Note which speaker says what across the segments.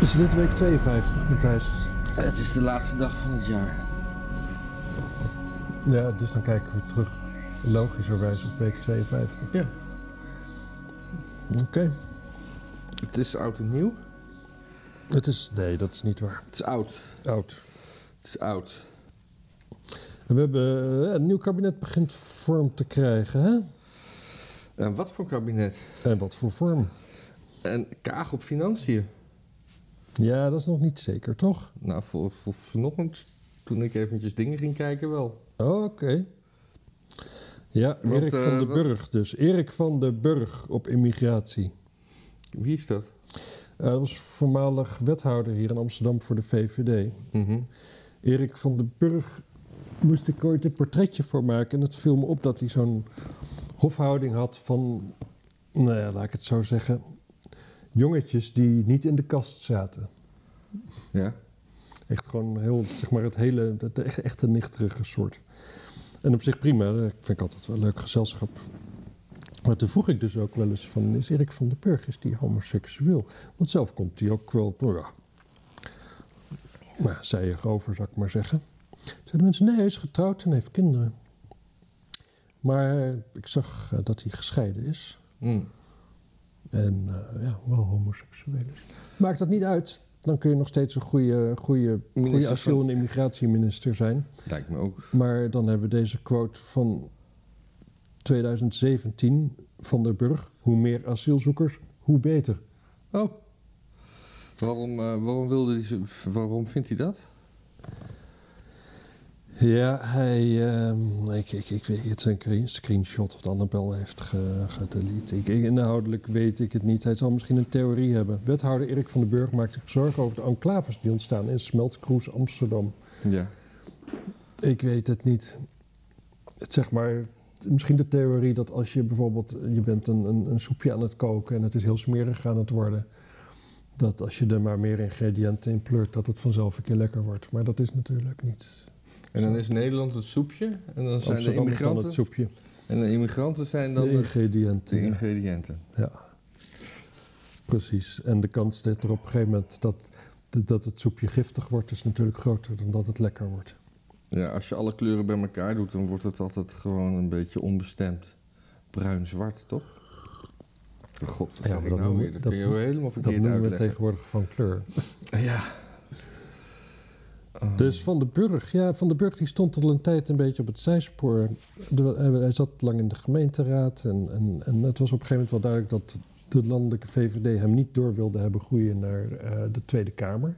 Speaker 1: Is dit week 52, Matthijs?
Speaker 2: Het is de laatste dag van het jaar.
Speaker 1: Ja, dus dan kijken we terug logischerwijs op week 52.
Speaker 2: Ja.
Speaker 1: Oké.
Speaker 2: Het is oud en nieuw.
Speaker 1: Het is... Nee, dat is niet waar.
Speaker 2: Het is oud.
Speaker 1: Oud.
Speaker 2: Het is oud.
Speaker 1: We hebben... eh, een nieuw kabinet begint vorm te krijgen, hè?
Speaker 2: En wat voor kabinet?
Speaker 1: En wat voor vorm?
Speaker 2: En kaag op financiën.
Speaker 1: Ja, dat is nog niet zeker, toch?
Speaker 2: Nou, voor, voor vanochtend, toen ik eventjes dingen ging kijken wel.
Speaker 1: Oké. Ja,
Speaker 2: Want,
Speaker 1: Erik
Speaker 2: eh,
Speaker 1: van den
Speaker 2: wat-
Speaker 1: Burg dus. Erik van den Burg op immigratie.
Speaker 2: Wie is dat?
Speaker 1: Eh, Hij was voormalig wethouder hier in Amsterdam voor de VVD.
Speaker 2: Mhm.
Speaker 1: Erik van den Burg moest ik ooit een portretje voor maken. En het viel me op dat hij zo'n hofhouding had van, nou ja, laat ik het zo zeggen, jongetjes die niet in de kast zaten.
Speaker 2: Ja.
Speaker 1: Echt gewoon heel, zeg maar, het hele, het echt, echt een nichterige soort. En op zich prima, dat vind ik altijd wel een leuk gezelschap. Maar toen vroeg ik dus ook wel eens van, is Erik van den Burg, is die homoseksueel? Want zelf komt hij ook wel, nou ja, nou, zij over, zou ik maar zeggen. Zeiden de mensen, nee, hij is getrouwd en heeft kinderen. Maar ik zag eh, dat hij gescheiden is.
Speaker 2: Mm.
Speaker 1: En eh, ja, wel homoseksueel is. Maakt dat niet uit. Dan kun je nog steeds een goede, goede, goede
Speaker 2: Minister
Speaker 1: asiel- en immigratieminister zijn.
Speaker 2: Lijkt me ook.
Speaker 1: Maar dan hebben we deze quote van 2017 van der Burg. Hoe meer asielzoekers, hoe beter.
Speaker 2: Oh. Waarom, eh, waarom wilde hij ze- Waarom vindt hij dat?
Speaker 1: Ja, hij. ehm, ik, ik, ik weet het, is een cre- screenshot wat Annabel heeft ge- gedelete. Ik, ik- inhoudelijk weet ik het niet. Hij zal misschien een theorie hebben. Wethouder Erik van den Burg maakt zich zorgen over de enclaves die ontstaan in Smeltkroes Amsterdam.
Speaker 2: Ja.
Speaker 1: Ik weet het niet. Het, zeg maar, misschien de theorie dat als je bijvoorbeeld... je bent een, een, een soepje aan het koken en het is heel smerig aan het worden... dat als je er maar meer ingrediënten in pleurt... dat het vanzelf een keer lekker wordt. Maar dat is natuurlijk niet...
Speaker 2: En dan is Nederland het soepje. En dan zijn de
Speaker 1: Amsterdam is dan het
Speaker 2: immigranten.
Speaker 1: soepje.
Speaker 2: En de immigranten zijn dan
Speaker 1: De
Speaker 2: de,
Speaker 1: ingrediënten,
Speaker 2: de
Speaker 1: ja.
Speaker 2: ingrediënten.
Speaker 1: ja. Precies. En de kans dat er op een gegeven moment... Dat, dat het soepje giftig wordt is natuurlijk groter dan dat het lekker wordt.
Speaker 2: Ja, als je alle kleuren bij elkaar doet, dan wordt het altijd gewoon een beetje onbestemd. Bruin-zwart, toch? God, wat
Speaker 1: Ja,
Speaker 2: zeg
Speaker 1: maar
Speaker 2: ik
Speaker 1: dat
Speaker 2: nou
Speaker 1: noemen-
Speaker 2: weer? Dat,
Speaker 1: dat-
Speaker 2: kun je helemaal
Speaker 1: Dat
Speaker 2: verkeerd
Speaker 1: noemen we
Speaker 2: uitleggen.
Speaker 1: tegenwoordig van kleur.
Speaker 2: Ja.
Speaker 1: Dus Van den Burg, ja, Van den Burg die stond al een tijd een beetje op het zijspoor. De- hij- hij zat lang in de gemeenteraad en, en, en het was op een gegeven moment wel duidelijk dat de landelijke VVD hem niet door wilde hebben groeien naar eh, de Tweede Kamer.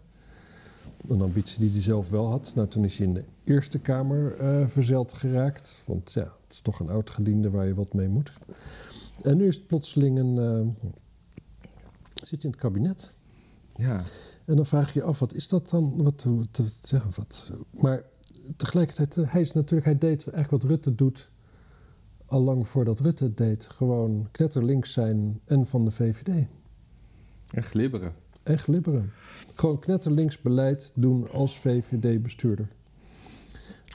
Speaker 1: Een ambitie die hij zelf wel had. Nou, toen is hij in de Eerste Kamer eh verzeild geraakt. Want ja, het is toch een oud gediende waar je wat mee moet. En nu is het plotseling een. eh, zit in het kabinet.
Speaker 2: Ja.
Speaker 1: En dan vraag je je af, wat is dat dan? Wat, wat, wat- ja, wat. Maar tegelijkertijd, eh, hij is natuurlijk, hij deed eigenlijk wat Rutte doet, al lang voordat Rutte het deed. Gewoon knetterlinks zijn en van de VVD.
Speaker 2: En glibberen.
Speaker 1: En glibberen. Gewoon knetterlinks beleid doen als VVD-bestuurder.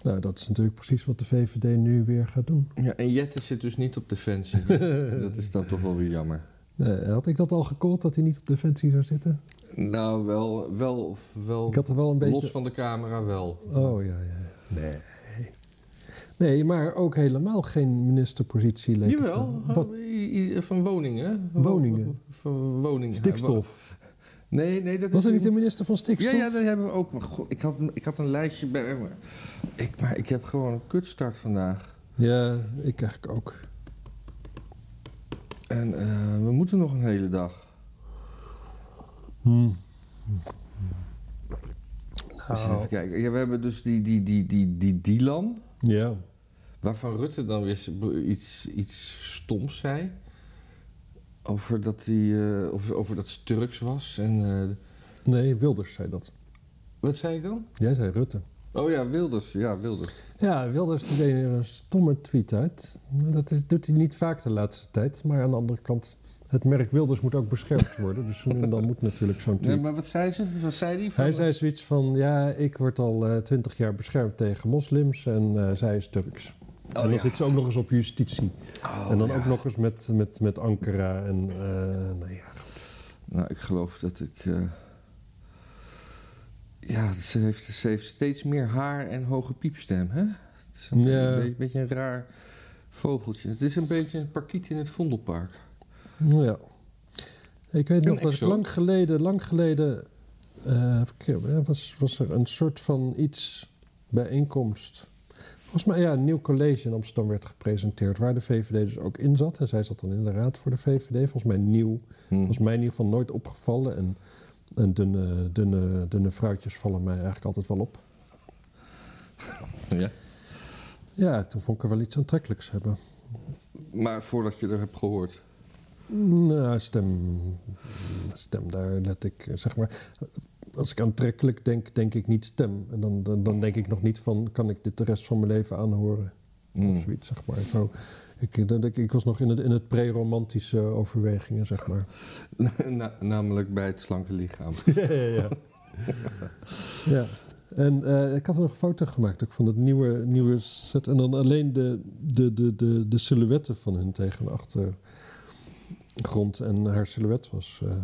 Speaker 1: Nou, dat is natuurlijk precies wat de VVD nu weer gaat doen.
Speaker 2: Ja, en Jette zit dus niet op defensie. dat is dan toch wel weer jammer.
Speaker 1: Nee, Eh, had ik dat al gecallt, dat hij niet op defensie zou zitten?
Speaker 2: Nou, wel, wel, of wel
Speaker 1: Ik had er wel een beetje...
Speaker 2: los van de camera wel.
Speaker 1: Oh ja, ja, ja. Nee. Nee, maar ook helemaal geen ministerpositie leek het
Speaker 2: Jawel, eh,
Speaker 1: wel. Wat?
Speaker 2: i- i- van woningen. hè?
Speaker 1: Woningen.
Speaker 2: Van woningen.
Speaker 1: Stikstof.
Speaker 2: Nee, nee, dat
Speaker 1: Was
Speaker 2: is
Speaker 1: er niet de minister van
Speaker 2: Ja,
Speaker 1: stikstof?
Speaker 2: ja, dat hebben we ook. Maar god, ik had, een- ik had een lijstje bij me. Ik, maar ik heb gewoon een kutstart vandaag.
Speaker 1: Ja, ik eigenlijk ook.
Speaker 2: En eh, we moeten nog een hele dag. Dus even
Speaker 1: Nou,
Speaker 2: kijken. Ja, we hebben dus die, die, die, die, die Dylan.
Speaker 1: ja.
Speaker 2: Waarvan Rutte dan weer z- be- iets, iets stoms zei. Over dat, hij, eh, over, over dat ze Turks was. En, eh,
Speaker 1: Nee, Wilders zei dat.
Speaker 2: wat zei ik dan?
Speaker 1: Jij zei Rutte.
Speaker 2: Oh ja, Wilders. Ja, Wilders.
Speaker 1: Ja, Wilders die deed er een stomme tweet uit. Nou, Dat is, doet hij niet vaak de laatste tijd. Maar aan de andere kant, het merk Wilders moet ook beschermd worden. Dus zo nu en dan moet natuurlijk zo'n tweet.
Speaker 2: Nee, maar wat zei ze? Wat zei die? Van,
Speaker 1: Hij zei zoiets van, ja, ik word al eh, twintig jaar beschermd tegen moslims en eh, zij is Turks. en dan
Speaker 2: Oh, ja.
Speaker 1: zit ze ook nog eens op justitie.
Speaker 2: Oh,
Speaker 1: en dan
Speaker 2: ja.
Speaker 1: ook nog eens met, met, met Ankara en, eh, nou ja.
Speaker 2: Nou, ik geloof dat ik... eh, Ja, ze heeft, ze heeft steeds meer haar en hoge piepstem, hè? Het is een
Speaker 1: Ja.
Speaker 2: beetje, beetje een raar vogeltje. Het is een beetje een parkiet in het Vondelpark.
Speaker 1: Nou Ja. Ik weet
Speaker 2: Een
Speaker 1: nog dat ik
Speaker 2: exoot.
Speaker 1: lang geleden, lang geleden eh, heb ik- eh, was, was er een soort van iets bijeenkomst. Volgens mij, ja, een nieuw college in Amsterdam werd gepresenteerd, waar de VVD dus ook in zat. En zij zat dan in de raad voor de VVD. Volgens mij nieuw. Was mij in ieder geval nooit opgevallen. En, en dunne, dunne, dunne vrouwtjes vallen mij eigenlijk altijd wel op.
Speaker 2: Ja.
Speaker 1: Ja, toen vond ik er wel iets aantrekkelijks hebben.
Speaker 2: Maar voordat je er hebt gehoord.
Speaker 1: Nou, stem, stem, daar let ik, eh, zeg maar. Als ik aantrekkelijk denk, denk ik niet stem. En dan, dan, dan denk ik nog niet van, kan ik dit de rest van mijn leven aanhoren?
Speaker 2: Mm.
Speaker 1: Of zoiets, zeg maar. Zo, ik, dat ik, ik was nog in het, in het pre-romantische eh, overwegingen, zeg maar.
Speaker 2: Na- namelijk bij het slanke lichaam.
Speaker 1: ja, ja, ja. ja. En eh, ik had er nog een foto gemaakt ook van het nieuwe, nieuwe set. En dan alleen de, de, de, de, de silhouetten van hun tegen de achtergrond. En haar silhouet was eh,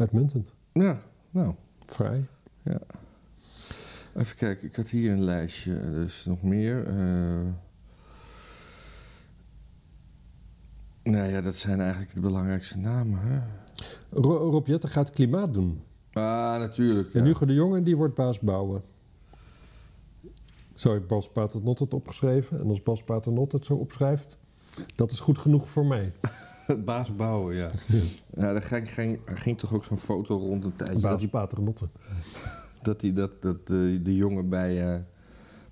Speaker 1: uitmuntend.
Speaker 2: Ja, nou.
Speaker 1: Vrij.
Speaker 2: Even kijken, ik had hier een lijstje, dus nog meer. eh. Nou ja, dat zijn eigenlijk de belangrijkste namen. Hè?
Speaker 1: Ro Rob Jetten gaat klimaat doen.
Speaker 2: Ah, natuurlijk.
Speaker 1: En
Speaker 2: ja.
Speaker 1: Hugo de Jonge die wordt Baas Bouwen. Zo heeft Bas Paternot het opgeschreven. En als Bas Paternot het zo opschrijft, dat is goed genoeg voor mij.
Speaker 2: Baas bouwen, ja. ja er, ging, ging, er ging toch ook zo'n foto rond een tijdje dat,
Speaker 1: Baas Paternotte.
Speaker 2: dat, die, dat, dat de, de jongen bij, eh,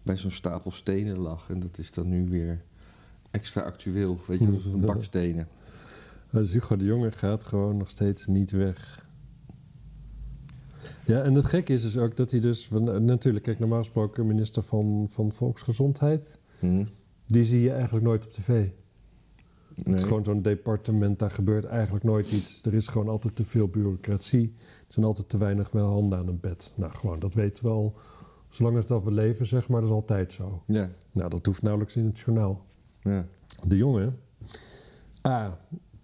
Speaker 2: bij zo'n stapel stenen lag. En dat is dan nu weer extra actueel, weet je, van bakstenen.
Speaker 1: Dus Hugo de Jonge gaat gewoon nog steeds niet weg. Ja, en het gekke is dus ook dat hij dus... want Natuurlijk, kijk, normaal gesproken minister van, van Volksgezondheid...
Speaker 2: Hm?
Speaker 1: die zie je eigenlijk nooit op tv. Het
Speaker 2: Nee.
Speaker 1: is gewoon zo'n departement, daar gebeurt eigenlijk nooit iets. Er is gewoon altijd te veel bureaucratie. Er zijn altijd te weinig wel handen aan een bed. Nou, gewoon, dat weten we al. Zolang als dat we leven, zeg maar, dat is altijd zo.
Speaker 2: Ja,
Speaker 1: Nou, dat hoeft nauwelijks in het journaal.
Speaker 2: ja.
Speaker 1: De jongen, A,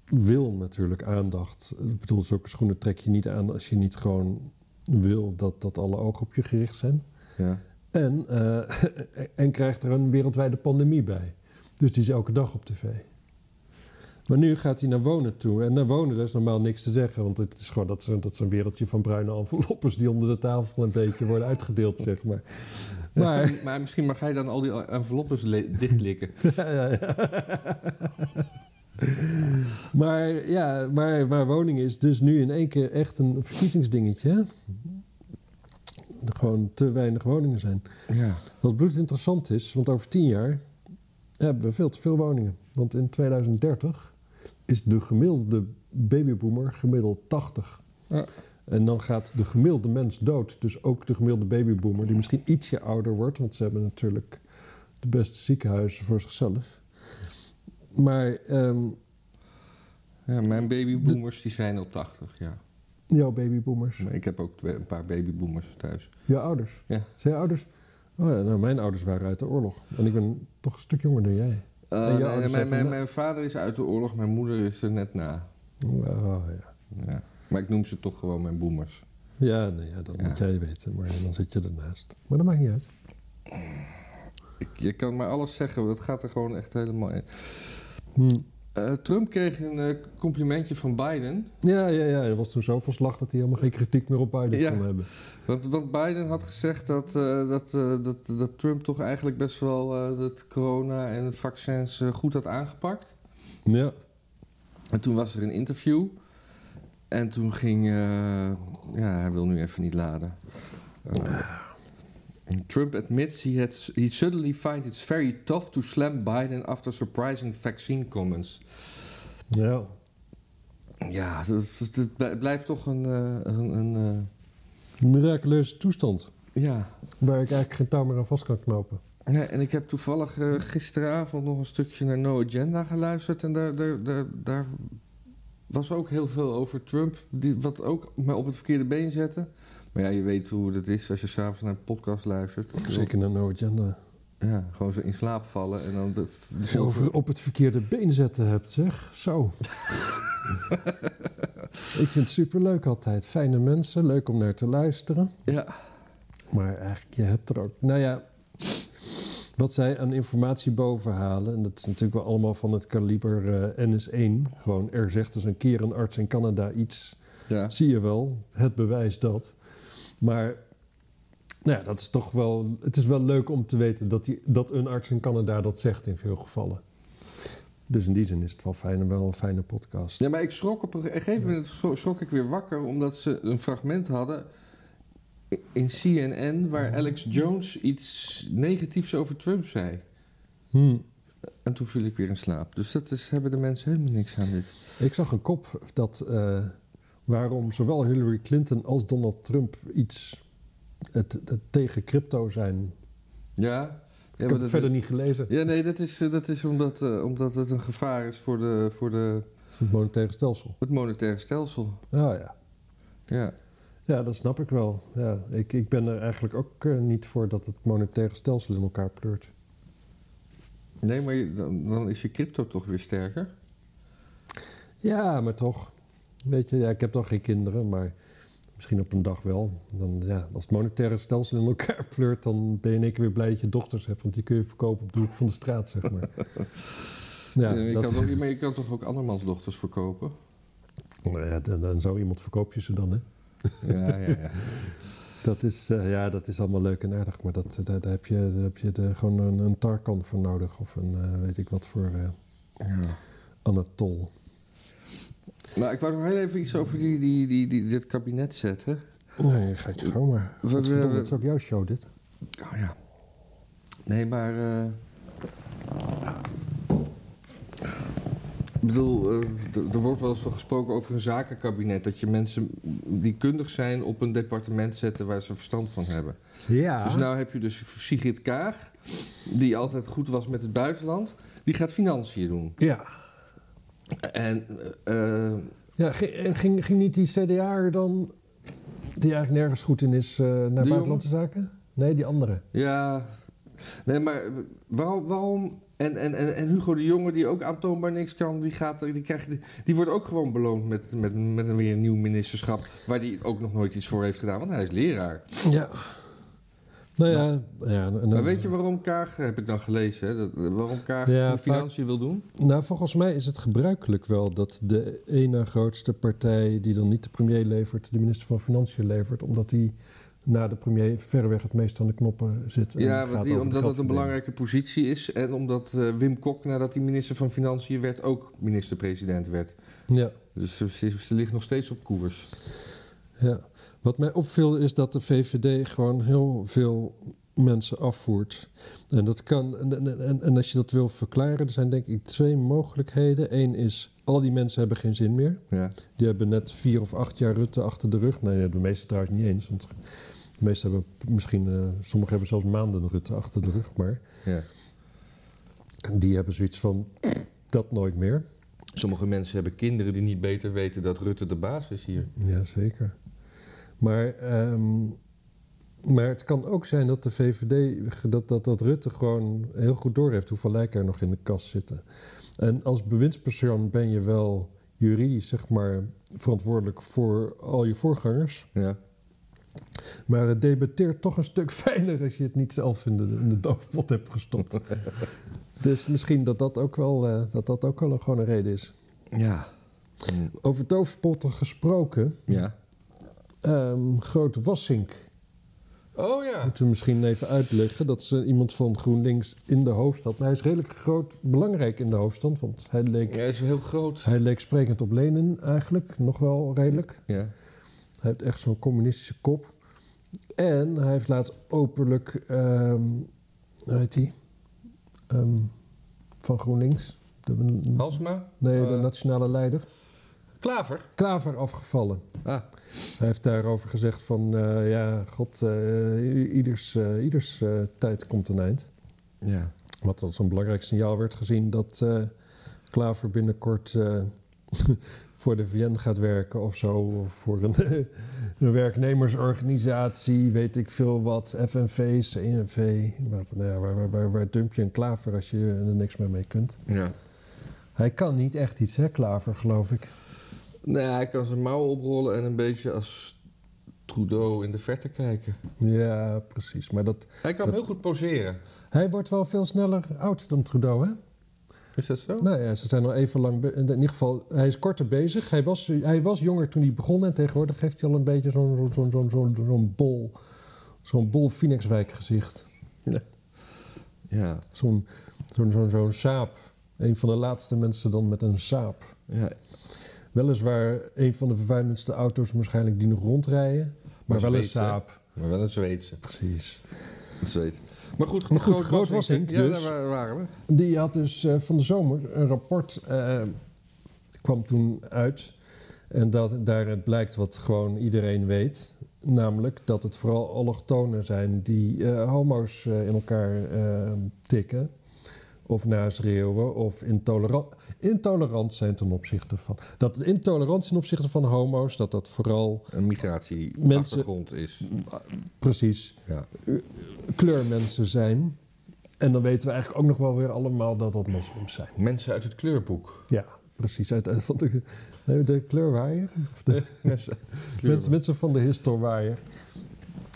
Speaker 1: wil natuurlijk aandacht. Ik bedoel, zulke schoenen trek je niet aan als je niet gewoon wil dat, dat alle ogen op je gericht zijn.
Speaker 2: ja.
Speaker 1: En, eh, en krijgt er een wereldwijde pandemie bij. Dus die is elke dag op tv. Maar nu gaat hij naar wonen toe. En naar wonen, daar is normaal niks te zeggen. Want het is gewoon dat, is- dat is een wereldje van bruine enveloppes die onder de tafel een beetje worden uitgedeeld, zeg maar. Maar
Speaker 2: Maar, maar misschien mag hij dan al die enveloppes le- dichtlikken.
Speaker 1: Ja, ja, ja. maar ja, maar, maar woning is dus nu in één keer echt een verkiezingsdingetje. hè? Er gewoon te weinig woningen zijn.
Speaker 2: Ja.
Speaker 1: Wat bloed interessant is, want over tien jaar hebben we veel te veel woningen. Want in 2030 is de gemiddelde babyboomer gemiddeld 80.
Speaker 2: Ja.
Speaker 1: En dan gaat de gemiddelde mens dood. Dus ook de gemiddelde babyboomer, die misschien ietsje ouder wordt, want ze hebben natuurlijk de beste ziekenhuizen voor zichzelf. Maar ehm,
Speaker 2: ja, mijn babyboomers die zijn al 80, ja.
Speaker 1: jouw babyboomers,
Speaker 2: Maar ik heb ook twee- een paar babyboomers thuis.
Speaker 1: jouw ouders,
Speaker 2: Ja.
Speaker 1: zijn jouw ouders? Oh ja, nou, mijn ouders waren uit de oorlog. En ik ben toch een stuk jonger dan jij.
Speaker 2: Eh,
Speaker 1: En jouw
Speaker 2: nee,
Speaker 1: ouders zijn
Speaker 2: mijn, mijn,
Speaker 1: van-
Speaker 2: mijn vader is uit de oorlog, mijn moeder is er net na.
Speaker 1: Oh, ja.
Speaker 2: Ja. Maar ik noem ze toch gewoon mijn boomers.
Speaker 1: Ja, nee, ja dat
Speaker 2: Ja.
Speaker 1: moet jij weten, maar dan zit je ernaast. Maar dat maakt niet uit.
Speaker 2: Ik, je kan maar alles zeggen, dat gaat er gewoon echt helemaal in.
Speaker 1: Hm.
Speaker 2: Eh, Trump kreeg een eh, complimentje van Biden.
Speaker 1: Ja, ja, ja, er was toen zoveel slag dat hij helemaal geen kritiek meer op Biden
Speaker 2: Ja.
Speaker 1: kon hebben.
Speaker 2: Want, want Biden had gezegd dat, eh, dat, eh, dat, dat Trump toch eigenlijk best wel eh, dat corona en de vaccins eh, goed had aangepakt.
Speaker 1: Ja,
Speaker 2: En toen was er een interview. En toen ging... eh, ja, hij wil nu even niet laden. Eh, Trump admits he, had, he suddenly finds it's very tough to slam Biden after surprising vaccine comments.
Speaker 1: ja.
Speaker 2: Ja, dat- dat- dat blij- blijft toch een... eh, een, een,
Speaker 1: Miraculeuze toestand,
Speaker 2: eh, ja.
Speaker 1: waar ik eigenlijk geen touw meer aan vast kan knopen.
Speaker 2: Ja, en ik heb toevallig eh, gisteravond nog een stukje naar No Agenda geluisterd. En daar, daar, daar, daar was ook heel veel over Trump. Die, wat ook me op het verkeerde been zette. Maar ja, je weet hoe dat is als je s'avonds naar een podcast luistert.
Speaker 1: Zeker naar No Agenda.
Speaker 2: Ja, gewoon zo in slaap vallen en dan... De, de-
Speaker 1: Als je over op het verkeerde been zetten hebt, zeg. Zo. ik vind het superleuk altijd. Fijne mensen, leuk om naar te luisteren.
Speaker 2: Ja,
Speaker 1: Maar eigenlijk, je hebt er ook. Nou ja, wat zij aan informatie bovenhalen, en dat is natuurlijk wel allemaal van het kaliber eh, NS1. Gewoon, er zegt dus een keer een arts in Canada iets.
Speaker 2: Ja.
Speaker 1: Zie je wel, het bewijs dat. Maar nou ja, dat is toch wel, het is wel leuk om te weten dat, die, dat een arts in Canada dat zegt in veel gevallen. Dus in die zin is het wel, fijn, wel een fijne podcast.
Speaker 2: ja, maar ik schrok op een gegeven moment schro- schrok ik weer wakker omdat ze een fragment hadden in CNN waar Alex Jones iets negatiefs over Trump zei.
Speaker 1: Hmm.
Speaker 2: En toen viel ik weer in slaap. Dus dat is, hebben de mensen helemaal niks aan dit.
Speaker 1: Ik zag een kop dat eh, waarom zowel Hillary Clinton als Donald Trump iets het, het tegen crypto zijn.
Speaker 2: Ja,
Speaker 1: Ik
Speaker 2: ja
Speaker 1: heb
Speaker 2: maar
Speaker 1: het
Speaker 2: dat-
Speaker 1: verder niet gelezen.
Speaker 2: Ja, nee, dat is, eh, dat is omdat, eh, omdat het een gevaar is voor, de, voor de,
Speaker 1: Het is het monetaire stelsel.
Speaker 2: het monetaire stelsel.
Speaker 1: Ah ja.
Speaker 2: Ja.
Speaker 1: Ja, dat snap ik wel. Ja, ik, ik ben er eigenlijk ook eh, niet voor dat het monetaire stelsel in elkaar pleurt.
Speaker 2: Nee, maar je- dan, dan is je crypto toch weer sterker.
Speaker 1: Ja, maar toch. Weet je, ja, ik heb dan geen kinderen, maar misschien op een dag wel. Dan, ja, als het monetaire stelsel in elkaar pleurt, dan ben je in één keer weer blij dat je dochters hebt. Want die kun je verkopen op de hoek van de straat, zeg maar.
Speaker 2: Ja, je, kan toch, maar je kan toch ook andermans dochters verkopen?
Speaker 1: Nou ja, dan, dan zo iemand verkoop je ze dan, hè?
Speaker 2: Ja, ja, ja.
Speaker 1: Dat is, eh, ja, dat is allemaal leuk en aardig, maar dat, eh, daar, daar heb je, daar heb je de, gewoon een, een Tarkan voor nodig. Of een eh, weet ik wat voor eh, Anatol.
Speaker 2: Maar ik wou nog heel even iets over die, die, die, die, dit kabinet zetten.
Speaker 1: Nee, ga je gewoon maar.
Speaker 2: We-
Speaker 1: Wat
Speaker 2: we- we-
Speaker 1: het is ook jouw show, dit.
Speaker 2: Oh ja. Nee, maar. eh, Ik bedoel, eh, d- er wordt wel eens van gesproken over een zakenkabinet. Dat je mensen die kundig zijn op een departement zetten waar ze verstand van hebben.
Speaker 1: Ja.
Speaker 2: Dus nou heb je dus Sigrid Kaag, die altijd goed was met het buitenland. Die gaat financiën doen.
Speaker 1: Ja.
Speaker 2: En eh, eh,
Speaker 1: ja ge- en ging, ging niet die CDA er dan, die eigenlijk nergens goed in is, eh, naar
Speaker 2: De
Speaker 1: buitenlandse zaken? Nee, die andere.
Speaker 2: ja. Nee, maar waarom. waarom en, en, en, en Hugo de Jonge, die ook aantoonbaar niks kan, die, gaat, er- die, krijgt, die wordt ook gewoon beloond met, met, met een weer een nieuw ministerschap. Waar die ook nog nooit iets voor heeft gedaan, want hij is leraar.
Speaker 1: Ja. Nou ja, ja nou, en- en-
Speaker 2: Maar weet je waarom Kaag, heb ik dan gelezen, hè, dat- waarom Kaag
Speaker 1: Ja,
Speaker 2: die financiën wil doen?
Speaker 1: Nou, volgens mij is het gebruikelijk wel dat de ene grootste partij die dan niet de premier levert, de minister van Financiën levert, omdat die na de premier verreweg het meest aan de knoppen zit. en
Speaker 2: Ja,
Speaker 1: gaat
Speaker 2: want
Speaker 1: over de
Speaker 2: die, omdat het een
Speaker 1: geldverdeling.
Speaker 2: belangrijke positie is. En omdat eh, Wim Kok, nadat hij minister van Financiën werd, ook minister-president werd.
Speaker 1: Ja,
Speaker 2: Dus ze, ze, ze ligt nog steeds op koers.
Speaker 1: ja. Wat mij opviel is dat de VVD gewoon heel veel mensen afvoert. En dat kan, en, en, en, en als je dat wil verklaren, er zijn denk ik twee mogelijkheden. Eén is, al die mensen hebben geen zin meer.
Speaker 2: Ja.
Speaker 1: Die hebben net vier of acht jaar Rutte achter de rug. Nee, de meeste trouwens niet eens. Want de meeste hebben p- misschien, eh, sommigen hebben zelfs maanden Rutte achter de rug. Maar
Speaker 2: Ja.
Speaker 1: die hebben zoiets van dat nooit meer.
Speaker 2: Sommige mensen hebben kinderen die niet beter weten dat Rutte de baas is hier.
Speaker 1: Ja, zeker. Maar, ehm, maar het kan ook zijn dat de VVD, dat, dat, dat Rutte gewoon heel goed doorheeft hoeveel lijken er nog in de kast zitten. En als bewindspersoon ben je wel juridisch, zeg maar, verantwoordelijk voor al je voorgangers.
Speaker 2: Ja.
Speaker 1: Maar het debatteert toch een stuk fijner als je het niet zelf in de, in de doofpot hebt gestopt. dus misschien dat dat ook wel, eh, dat dat ook wel een, gewoon een reden is.
Speaker 2: Ja.
Speaker 1: Over doofpotten gesproken,
Speaker 2: Ja.
Speaker 1: ehm Groot Wassink.
Speaker 2: Oh ja.
Speaker 1: Moeten we misschien even uitleggen. Dat is eh, iemand van GroenLinks in de hoofdstad. Maar hij is redelijk groot, belangrijk in de hoofdstad. Want hij leek,
Speaker 2: Hij is heel groot.
Speaker 1: hij leek sprekend op Lenin eigenlijk. Nog wel redelijk.
Speaker 2: Ja.
Speaker 1: Hij heeft echt zo'n communistische kop. En hij heeft laatst openlijk, ehm hoe heet die? Ehm, van GroenLinks. De-
Speaker 2: Halsma?
Speaker 1: nee, de
Speaker 2: Eh,
Speaker 1: nationale leider.
Speaker 2: Klaver?
Speaker 1: Klaver afgevallen.
Speaker 2: Ah.
Speaker 1: Hij heeft daarover gezegd van, eh, ja, god, eh, i- ieders, eh, ieders eh, tijd komt een eind.
Speaker 2: Ja.
Speaker 1: Wat als een belangrijk signaal werd gezien dat eh, Klaver binnenkort eh, voor de VN gaat werken of zo. Of voor een, een werknemersorganisatie, weet ik veel wat. FNV, CNV. Waar, nou ja, waar, waar, waar, waar dump je een Klaver als je er niks meer mee kunt?
Speaker 2: Ja.
Speaker 1: Hij kan niet echt iets, hè, Klaver, geloof ik.
Speaker 2: Nee, hij kan zijn mouwen oprollen en een beetje als Trudeau in de verte kijken.
Speaker 1: Ja, precies. Maar dat,
Speaker 2: Hij kan
Speaker 1: Dat-
Speaker 2: heel goed poseren.
Speaker 1: hij wordt wel veel sneller oud dan Trudeau, hè?
Speaker 2: Is dat zo?
Speaker 1: Nou ja, ze zijn al even lang... be- In ieder geval, hij is korter bezig. Hij was, hij was jonger toen hij begon en tegenwoordig heeft hij al een beetje zo'n zo'n zo'n zo'n zo'n- zo'n bol... Zo'n bol Phoenixwijk gezicht.
Speaker 2: Ja.
Speaker 1: Zo'n zo'n zo'n zo'n saap. Een van de laatste mensen dan met een saap.
Speaker 2: ja.
Speaker 1: Weliswaar een van de vervuilendste auto's waarschijnlijk die nog rondrijden. Maar wel een
Speaker 2: Zweeds, hè?
Speaker 1: saap.
Speaker 2: Maar wel een Zweedse.
Speaker 1: Precies.
Speaker 2: Een Zweed. Maar goed,
Speaker 1: Maar goed, Groot
Speaker 2: Waswinkel-
Speaker 1: Waswinkel,
Speaker 2: Ja,
Speaker 1: dus.
Speaker 2: daar wa- waren we.
Speaker 1: Die had dus eh, van de zomer een rapport, eh, kwam toen uit. En dat, daaruit blijkt wat gewoon iedereen weet. Namelijk dat het vooral allochtonen zijn die eh, homo's eh, in elkaar eh, tikken. Of naschreeuwen of intolerant, intolerant zijn ten opzichte van. Dat de intolerantie ten opzichte van homo's, dat dat vooral
Speaker 2: Een migratieachtergrond is.
Speaker 1: precies
Speaker 2: Ja.
Speaker 1: kleurmensen zijn. En dan weten we eigenlijk ook nog wel weer allemaal dat dat moslims zijn.
Speaker 2: Mensen uit het kleurboek.
Speaker 1: Ja, precies. Uit, uit- van de, nee, de kleurwaaier. Of de,
Speaker 2: Mensen,
Speaker 1: mensen, mensen van de historwaaier.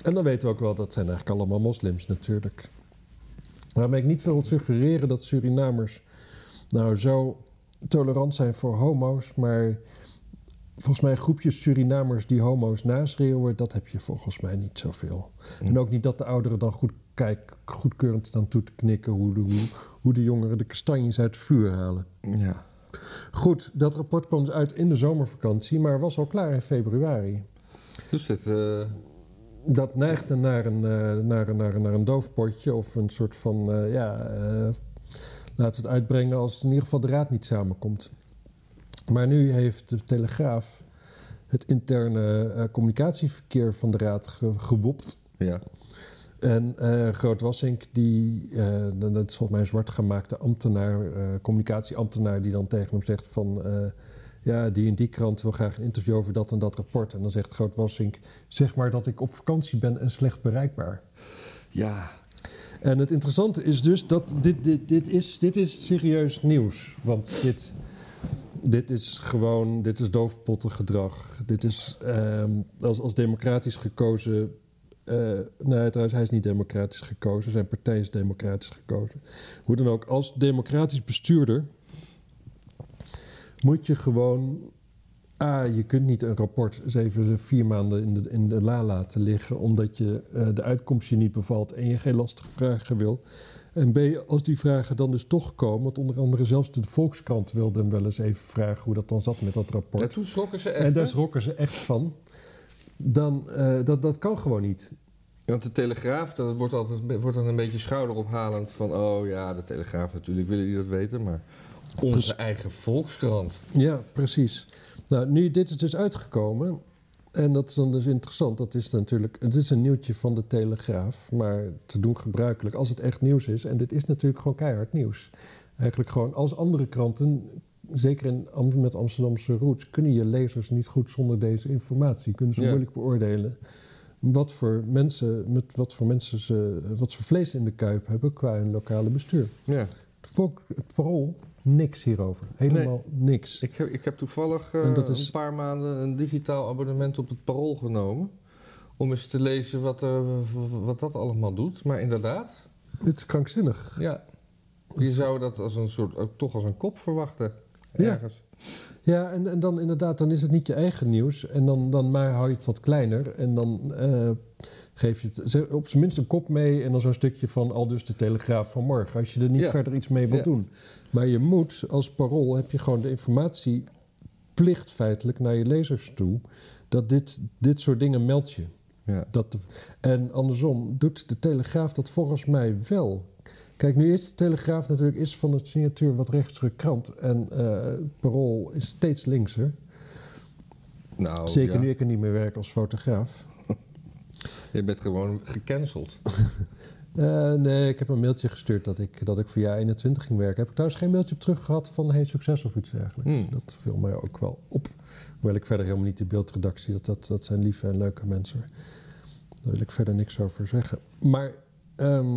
Speaker 1: En dan weten we ook wel, dat zijn eigenlijk allemaal moslims natuurlijk. Waarmee ik niet wil suggereren dat Surinamers nou zo tolerant zijn voor homo's, maar volgens mij groepjes Surinamers die homo's naschreeuwen, dat heb je volgens mij niet zoveel. En ook niet dat de ouderen dan goed kijk, goedkeurend staan toe te knikken hoe de, hoe, hoe de jongeren de kastanjes uit het vuur halen.
Speaker 2: Ja.
Speaker 1: Goed, dat rapport kwam dus uit in de zomervakantie, maar was al klaar in februari.
Speaker 2: Dus dit, eh,
Speaker 1: Dat neigde naar een, eh, naar, een- naar, een- naar een doofpotje of een soort van, eh, ja, eh, laten we het uitbrengen als in ieder geval de raad niet samenkomt. Maar nu heeft de Telegraaf het interne eh, communicatieverkeer van de raad ge- gewopt.
Speaker 2: ja.
Speaker 1: En eh, Groot Wassink, die, eh, dat is volgens mij een zwartgemaakte ambtenaar, eh, communicatieambtenaar, die dan tegen hem zegt van, eh, ja, die in die krant wil graag een interview over dat en dat rapport. En dan zegt Groot Wassink, zeg maar dat ik op vakantie ben en slecht bereikbaar.
Speaker 2: Ja.
Speaker 1: En het interessante is dus dat dit, dit, dit, is, dit is serieus nieuws. Want dit, dit is gewoon, dit is doofpottengedrag. Dit is ehm, als, als democratisch gekozen. eh nee, trouwens, hij is niet democratisch gekozen. Zijn partij is democratisch gekozen. Hoe dan ook, als democratisch bestuurder moet je gewoon. A, je kunt niet een rapport eens even vier maanden in de, in de la laten liggen. omdat je eh, de uitkomst je niet bevalt en je geen lastige vragen wil. En B, als die vragen dan dus toch komen. want onder andere zelfs de Volkskrant wilde hem wel eens even vragen hoe dat dan zat met dat rapport.
Speaker 2: En toen schrokken ze echt.
Speaker 1: en
Speaker 2: hè?
Speaker 1: daar schrokken ze echt van. Dan, eh, dat, dat kan gewoon niet.
Speaker 2: Want de Telegraaf, dat wordt, altijd, wordt dan een beetje schouderophalend van... oh ja, de Telegraaf natuurlijk, willen die dat weten, maar... Onze eigen Volkskrant.
Speaker 1: Ja, precies. Nou, nu dit is dus uitgekomen. En dat is dan dus interessant. Dat is natuurlijk, het is een nieuwtje van de Telegraaf, maar te doen gebruikelijk als het echt nieuws is. En dit is natuurlijk gewoon keihard nieuws. Eigenlijk gewoon als andere kranten, zeker in, Am- met Amsterdamse roots, kunnen je lezers niet goed zonder deze informatie. Kunnen ze
Speaker 2: Ja.
Speaker 1: moeilijk beoordelen wat voor mensen, met wat voor mensen ze, wat voor vlees in de kuip hebben qua hun lokale bestuur.
Speaker 2: Ja.
Speaker 1: Het Volk, het parool, niks hierover. Helemaal niks.
Speaker 2: Ik heb, ik heb toevallig eh,
Speaker 1: En dat is-
Speaker 2: een paar maanden een digitaal abonnement op het Parool genomen. Om eens te lezen wat, eh, w- w- wat dat allemaal doet. Maar inderdaad,
Speaker 1: Het is krankzinnig.
Speaker 2: ja. Je zou dat als een soort, ook toch als een kop verwachten.
Speaker 1: Ja.
Speaker 2: Ergens.
Speaker 1: Ja, en, en dan inderdaad, dan is het niet je eigen nieuws. En dan, dan maar hou je het wat kleiner. En dan eh, geef je het ze- op zijn minst een kop mee. En dan zo'n stukje van al dus de Telegraaf van morgen. Als je er niet
Speaker 2: Ja.
Speaker 1: verder iets mee wilt
Speaker 2: Ja.
Speaker 1: doen. Maar je moet, als parool, heb je gewoon de informatieplicht feitelijk naar je lezers toe. Dat dit, dit soort dingen meld je.
Speaker 2: Ja.
Speaker 1: Dat de- en andersom doet de Telegraaf dat volgens mij wel. Kijk, nu is de Telegraaf natuurlijk is van het signatuur wat rechtse krant. En eh Parool is steeds linkser.
Speaker 2: Nou,
Speaker 1: Zeker
Speaker 2: ja.
Speaker 1: nu ik er niet meer werk als fotograaf.
Speaker 2: Je bent gewoon gecanceld.
Speaker 1: Eh, nee, ik heb een mailtje gestuurd dat ik, dat ik voor jaar 21 ging werken. Heb ik trouwens geen mailtje op terug gehad van hey, succes of iets dergelijks.
Speaker 2: Hmm.
Speaker 1: Dat viel mij ook wel op. Hoewel ik verder helemaal niet de beeldredactie, dat, dat, dat zijn lieve en leuke mensen. Daar wil ik verder niks over zeggen. Maar ehm,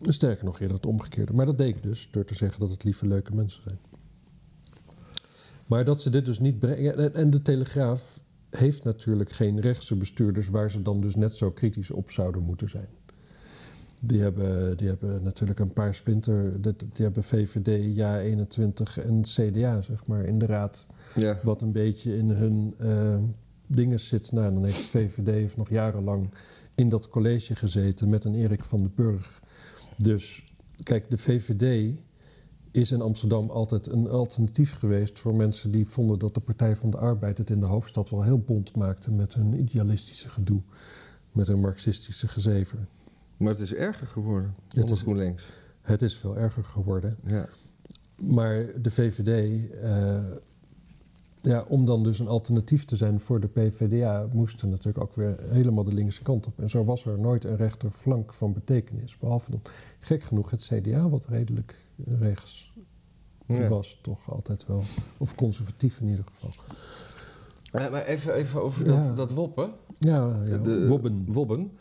Speaker 1: sterker nog eerder het omgekeerde. Maar dat deed ik dus door te zeggen dat het lieve leuke mensen zijn. Maar dat ze dit dus niet brengen. En, en de Telegraaf heeft natuurlijk geen rechtse bestuurders waar ze dan dus net zo kritisch op zouden moeten zijn. Die hebben, die hebben natuurlijk een paar splinter. Die, die hebben VVD, JA21 en CDA, zeg maar, in de raad.
Speaker 2: Ja.
Speaker 1: Wat een beetje in hun eh, dingen zit. Nou, dan heeft de VVD heeft nog jarenlang in dat college gezeten met een Erik van den Burg. Dus kijk, de VVD is in Amsterdam altijd een alternatief geweest voor mensen die vonden dat de Partij van de Arbeid het in de hoofdstad wel heel bond maakte met hun idealistische gedoe, met hun marxistische gezever.
Speaker 2: Maar het is erger geworden
Speaker 1: Het
Speaker 2: onder
Speaker 1: is-
Speaker 2: GroenLinks.
Speaker 1: Het is veel erger geworden.
Speaker 2: Ja.
Speaker 1: Maar de VVD, eh, ja, om dan dus een alternatief te zijn voor de PVDA, moesten natuurlijk ook weer helemaal de linkse kant op. En zo was er nooit een rechterflank van betekenis. Behalve dan, gek genoeg, het CDA, wat redelijk rechts
Speaker 2: Ja.
Speaker 1: was, toch altijd wel. Of conservatief in ieder geval.
Speaker 2: Eh, maar even, even over
Speaker 1: Ja.
Speaker 2: dat, dat woppen.
Speaker 1: Ja, ja
Speaker 2: De-
Speaker 1: Wobben.
Speaker 2: Wobben.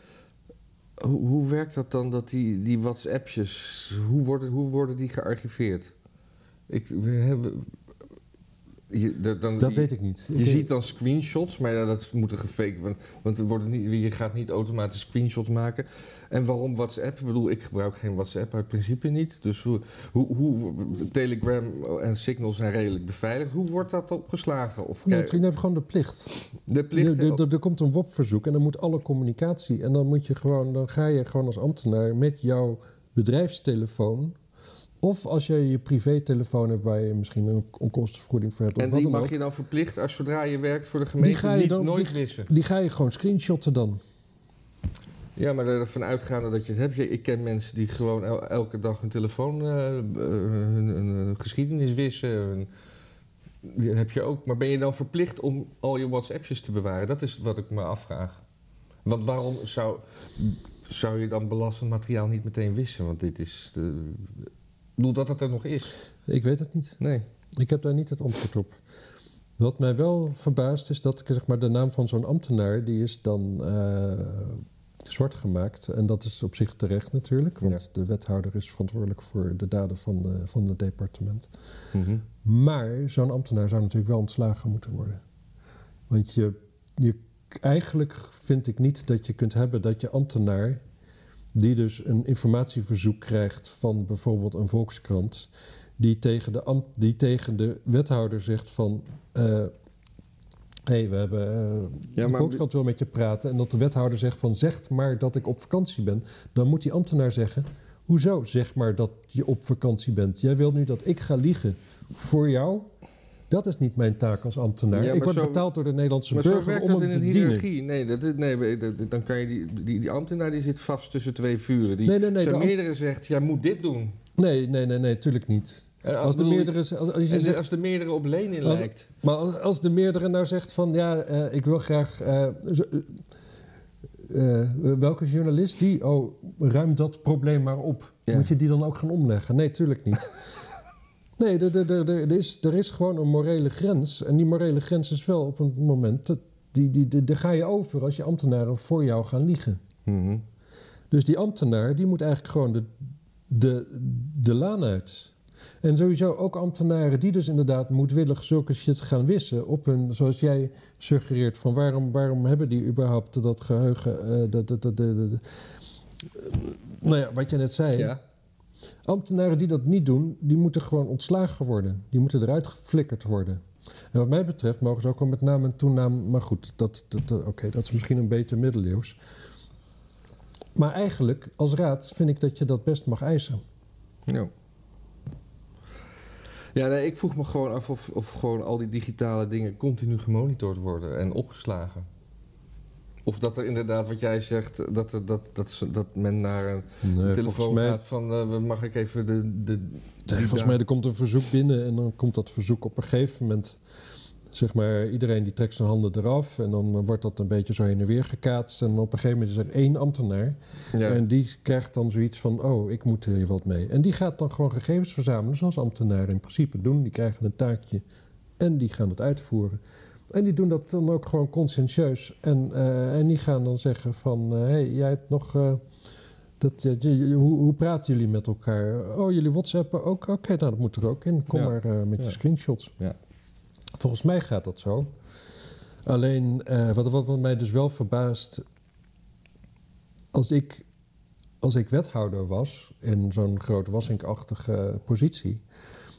Speaker 2: Hoe, hoe werkt dat dan, dat die, die WhatsAppjes, hoe worden, hoe worden die gearchiveerd? Ik, we hebben, je, dat- dan,
Speaker 1: Dat
Speaker 2: je,
Speaker 1: weet ik niet.
Speaker 2: je
Speaker 1: Ik-
Speaker 2: ziet dan screenshots, maar ja, dat moeten gefaked want, want er worden niet, je gaat niet automatisch screenshots maken. En waarom WhatsApp? Ik bedoel, ik gebruik geen WhatsApp uit principe niet. Dus hoe, hoe, hoe- Telegram en Signal zijn redelijk beveiligd. Hoe wordt dat opgeslagen? Of
Speaker 1: Nee,
Speaker 2: krijg-
Speaker 1: Trine heeft gewoon de plicht.
Speaker 2: de plicht...
Speaker 1: Er- er- er- er komt een WOP-verzoek en dan moet alle communicatie. En dan, moet je gewoon, dan ga je gewoon als ambtenaar met jouw bedrijfstelefoon. Of als je je privételefoon hebt waar je misschien een onkostenvergoeding voor hebt. Of
Speaker 2: En
Speaker 1: wat
Speaker 2: die
Speaker 1: dan
Speaker 2: mag
Speaker 1: ook,
Speaker 2: je dan verplicht, als zodra je werkt voor de gemeente,
Speaker 1: ga je
Speaker 2: niet,
Speaker 1: dan-
Speaker 2: nooit
Speaker 1: die-
Speaker 2: missen.
Speaker 1: die ga je gewoon screenshotten dan.
Speaker 2: Ja, maar ervan uitgaande dat je het hebt. Ja, Ik ken mensen die gewoon el- elke dag hun telefoon, eh, eh, hun, hun, eh, geschiedenis wissen. hun- die heb je ook. Maar ben je dan verplicht om al je WhatsAppjes te bewaren? Dat is wat ik me afvraag. Want waarom zou, zou je dan belastend materiaal niet meteen wissen? Want dit is... De, ik bedoel dat het er nog is.
Speaker 1: Ik weet het niet.
Speaker 2: Nee.
Speaker 1: Ik heb daar niet het antwoord op. Wat mij wel verbaast is dat ik, zeg maar, de naam van zo'n ambtenaar, die is dan eh, zwart gemaakt. En dat is op zich terecht natuurlijk, want de wethouder is verantwoordelijk voor de daden van, de, van het departement. Maar zo'n ambtenaar zou natuurlijk wel ontslagen moeten worden. Want je, je, eigenlijk vind ik niet dat je kunt hebben dat je ambtenaar, die dus een informatieverzoek krijgt van bijvoorbeeld een volkskrant, die tegen de, ambt, die tegen de wethouder zegt van. eh, Hé, hey, we hebben. eh,
Speaker 2: Ja,
Speaker 1: de
Speaker 2: maar
Speaker 1: Volkskrant wil met je praten. En dat de wethouder zegt van. Zeg maar dat ik op vakantie ben. Dan moet die ambtenaar zeggen. Hoezo zeg maar dat je op vakantie bent? Jij wilt nu dat ik ga liegen voor jou? Dat is niet mijn taak als ambtenaar.
Speaker 2: Ja,
Speaker 1: ik
Speaker 2: maar
Speaker 1: word
Speaker 2: zo-
Speaker 1: betaald door de Nederlandse
Speaker 2: Maar zo
Speaker 1: burger
Speaker 2: werkt
Speaker 1: om
Speaker 2: dat
Speaker 1: hem
Speaker 2: in
Speaker 1: te
Speaker 2: een
Speaker 1: dienen.
Speaker 2: hiërarchie. Nee, dat, is- nee, maar dat- dat- dan kan je die, die, die ambtenaar die zit vast tussen twee vuren. Die,
Speaker 1: Nee, nee, nee,
Speaker 2: zijn
Speaker 1: de ambt-
Speaker 2: meerdere zegt, jij moet dit doen.
Speaker 1: Nee, nee, nee, nee, tuurlijk niet.
Speaker 2: En
Speaker 1: Als de
Speaker 2: bedoel,
Speaker 1: meerdere, als, als je
Speaker 2: en
Speaker 1: zegt,
Speaker 2: als de meerdere op Lenin
Speaker 1: Als-
Speaker 2: lijkt.
Speaker 1: Maar als, als de meerdere nou zegt van ja, eh, ik wil graag. eh, zo- eh, eh, welke journalist die? Oh, ruim dat probleem maar op.
Speaker 2: Ja.
Speaker 1: Moet je die dan ook gaan omleggen? Nee, tuurlijk niet. nee, er, er, er, er- er is, er is gewoon een morele grens. En die morele grens is wel op een moment. Dat, die, die, die, daar ga je over als je ambtenaren voor jou gaan liegen.
Speaker 2: Mhm.
Speaker 1: Dus die ambtenaar die moet eigenlijk gewoon de, de, de laan uit. En sowieso ook ambtenaren die dus inderdaad moedwillig zulke shit gaan wissen op hun, zoals jij suggereert, van waarom, waarom hebben die überhaupt dat geheugen, eh, dat, dat, dat, dat- dat- dat- nou ja, wat je net zei.
Speaker 2: Ja.
Speaker 1: Ambtenaren die dat niet doen, die moeten gewoon ontslagen worden. Die moeten eruit geflikkerd worden. En wat mij betreft mogen ze ook wel met naam en toenaam... Maar goed, dat, dat, dat- oké, dat is misschien een beetje middeleeuws. Maar eigenlijk, als raad, vind ik dat je dat best mag eisen.
Speaker 2: Ja. Ja, nee, ik vroeg me gewoon af of, of gewoon al die digitale dingen continu gemonitord worden en opgeslagen. Of dat er inderdaad, wat jij zegt, dat, er, dat, dat, ze- dat men naar een telefoon
Speaker 1: volgens mij,
Speaker 2: gaat van... eh, mag ik even de... de die
Speaker 1: nee, volgens
Speaker 2: daar-
Speaker 1: mij er komt een verzoek binnen en dan komt dat verzoek op een gegeven moment... Zeg maar, iedereen die trekt zijn handen eraf en dan wordt dat een beetje zo heen en weer gekaatst. En op een gegeven moment is er één ambtenaar
Speaker 2: Ja.
Speaker 1: En die krijgt dan zoiets van, oh, ik moet hier wat mee. En die gaat dan gewoon gegevens verzamelen, zoals ambtenaren in principe doen. Die krijgen een taakje en die gaan dat uitvoeren. En die doen dat dan ook gewoon conscientieus. En, eh, en die gaan dan zeggen van, hé, hey, jij hebt nog... eh, dat, je- je- je- hoe, hoe praten jullie met elkaar? Oh, jullie whatsappen ook? Oké, nou, dat moet er ook in. Kom
Speaker 2: Ja.
Speaker 1: maar eh, met
Speaker 2: Ja.
Speaker 1: je screenshots.
Speaker 2: Ja.
Speaker 1: Volgens mij gaat dat zo. Alleen, eh, wat, wat mij dus wel verbaast... Als ik, als ik wethouder was, in zo'n groot wassinkachtige positie...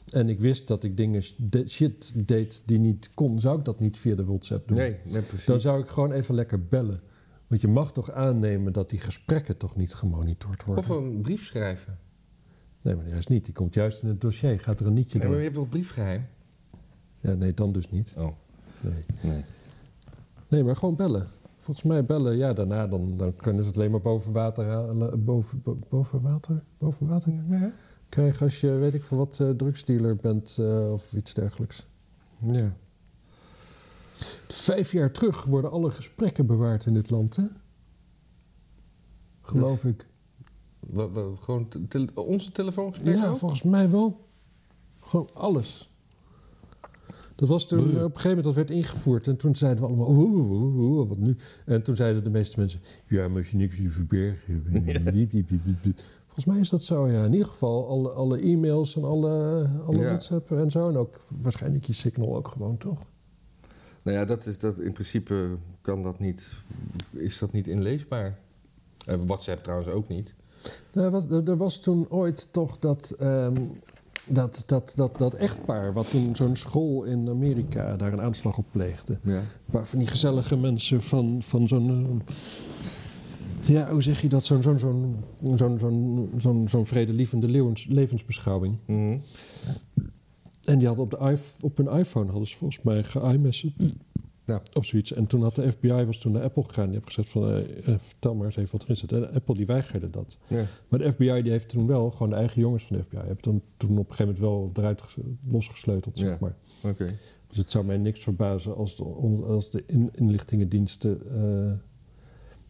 Speaker 1: en ik wist dat ik dingen sh- de- shit deed die niet kon... zou ik dat niet via de WhatsApp doen.
Speaker 2: Nee, nee, precies.
Speaker 1: Dan zou ik gewoon even lekker bellen. Want je mag toch aannemen dat die gesprekken toch niet gemonitord worden?
Speaker 2: Of eh, een brief schrijven.
Speaker 1: Nee, maar juist niet. Die komt juist in het dossier. Gaat er een nietje
Speaker 2: Nee, maar je
Speaker 1: door?
Speaker 2: hebt wel briefgeheim.
Speaker 1: Ja, nee, dan dus niet.
Speaker 2: Oh,
Speaker 1: Nee.
Speaker 2: nee.
Speaker 1: Nee, maar gewoon bellen. Volgens mij bellen, ja, daarna dan, dan kunnen ze het alleen maar boven water halen. Boven, bo- boven water? Boven water
Speaker 2: Ja.
Speaker 1: krijgen als je, weet ik veel wat, eh, drugsdealer bent eh, of iets dergelijks.
Speaker 2: ja.
Speaker 1: Vijf jaar terug worden alle gesprekken bewaard in dit land, hè? Geloof
Speaker 2: Dus
Speaker 1: ik.
Speaker 2: Wat- wat- gewoon te- tele- onze telefoongesprek
Speaker 1: Ja,
Speaker 2: ook?
Speaker 1: volgens mij wel. Gewoon alles. Dat was toen, eh, op een gegeven moment dat werd ingevoerd. En toen zeiden we allemaal, oeh, oeh, oeh, oeh, wat nu? En toen zeiden de meeste mensen, ja, maar als je niks te verbergen hebt. Diep, diep, diep, diep, diep. Volgens mij is dat zo, ja. In ieder geval alle, alle e-mails en alle, alle
Speaker 2: Ja.
Speaker 1: WhatsApp en zo. En ook waarschijnlijk je Signal ook gewoon, toch?
Speaker 2: Nou ja, dat is dat, in principe kan dat niet, is dat niet inleesbaar. Eh, WhatsApp trouwens ook niet.
Speaker 1: Nou, wat, er, er was toen ooit toch dat, ehm, dat, dat, dat, dat echtpaar... wat toen zo'n school in Amerika daar een aanslag op pleegde.
Speaker 2: Ja.
Speaker 1: Een paar van die gezellige mensen van, van zo'n. eh, Ja, hoe zeg je dat? Zo'n zo'n zo'n zo'n zo'n zo'n zo'n vredelievende levens, levensbeschouwing.
Speaker 2: Mhm.
Speaker 1: En die hadden op, de iPh- op hun iPhone hadden ze volgens mij ge-iMessage
Speaker 2: Ja.
Speaker 1: of zoiets. En toen had de FBI was toen naar Apple gegaan. Die heeft gezegd van, eh, eh, vertel maar eens even wat erin zit. En Apple die weigerde dat.
Speaker 2: ja.
Speaker 1: Maar de FBI die heeft toen wel, gewoon de eigen jongens van de FBI... hebben toen, toen op een gegeven moment wel eruit ges- losgesleuteld,
Speaker 2: Ja.
Speaker 1: zeg maar.
Speaker 2: Oké.
Speaker 1: Dus het zou mij niks verbazen als de, on- als de in- inlichtingendiensten eh,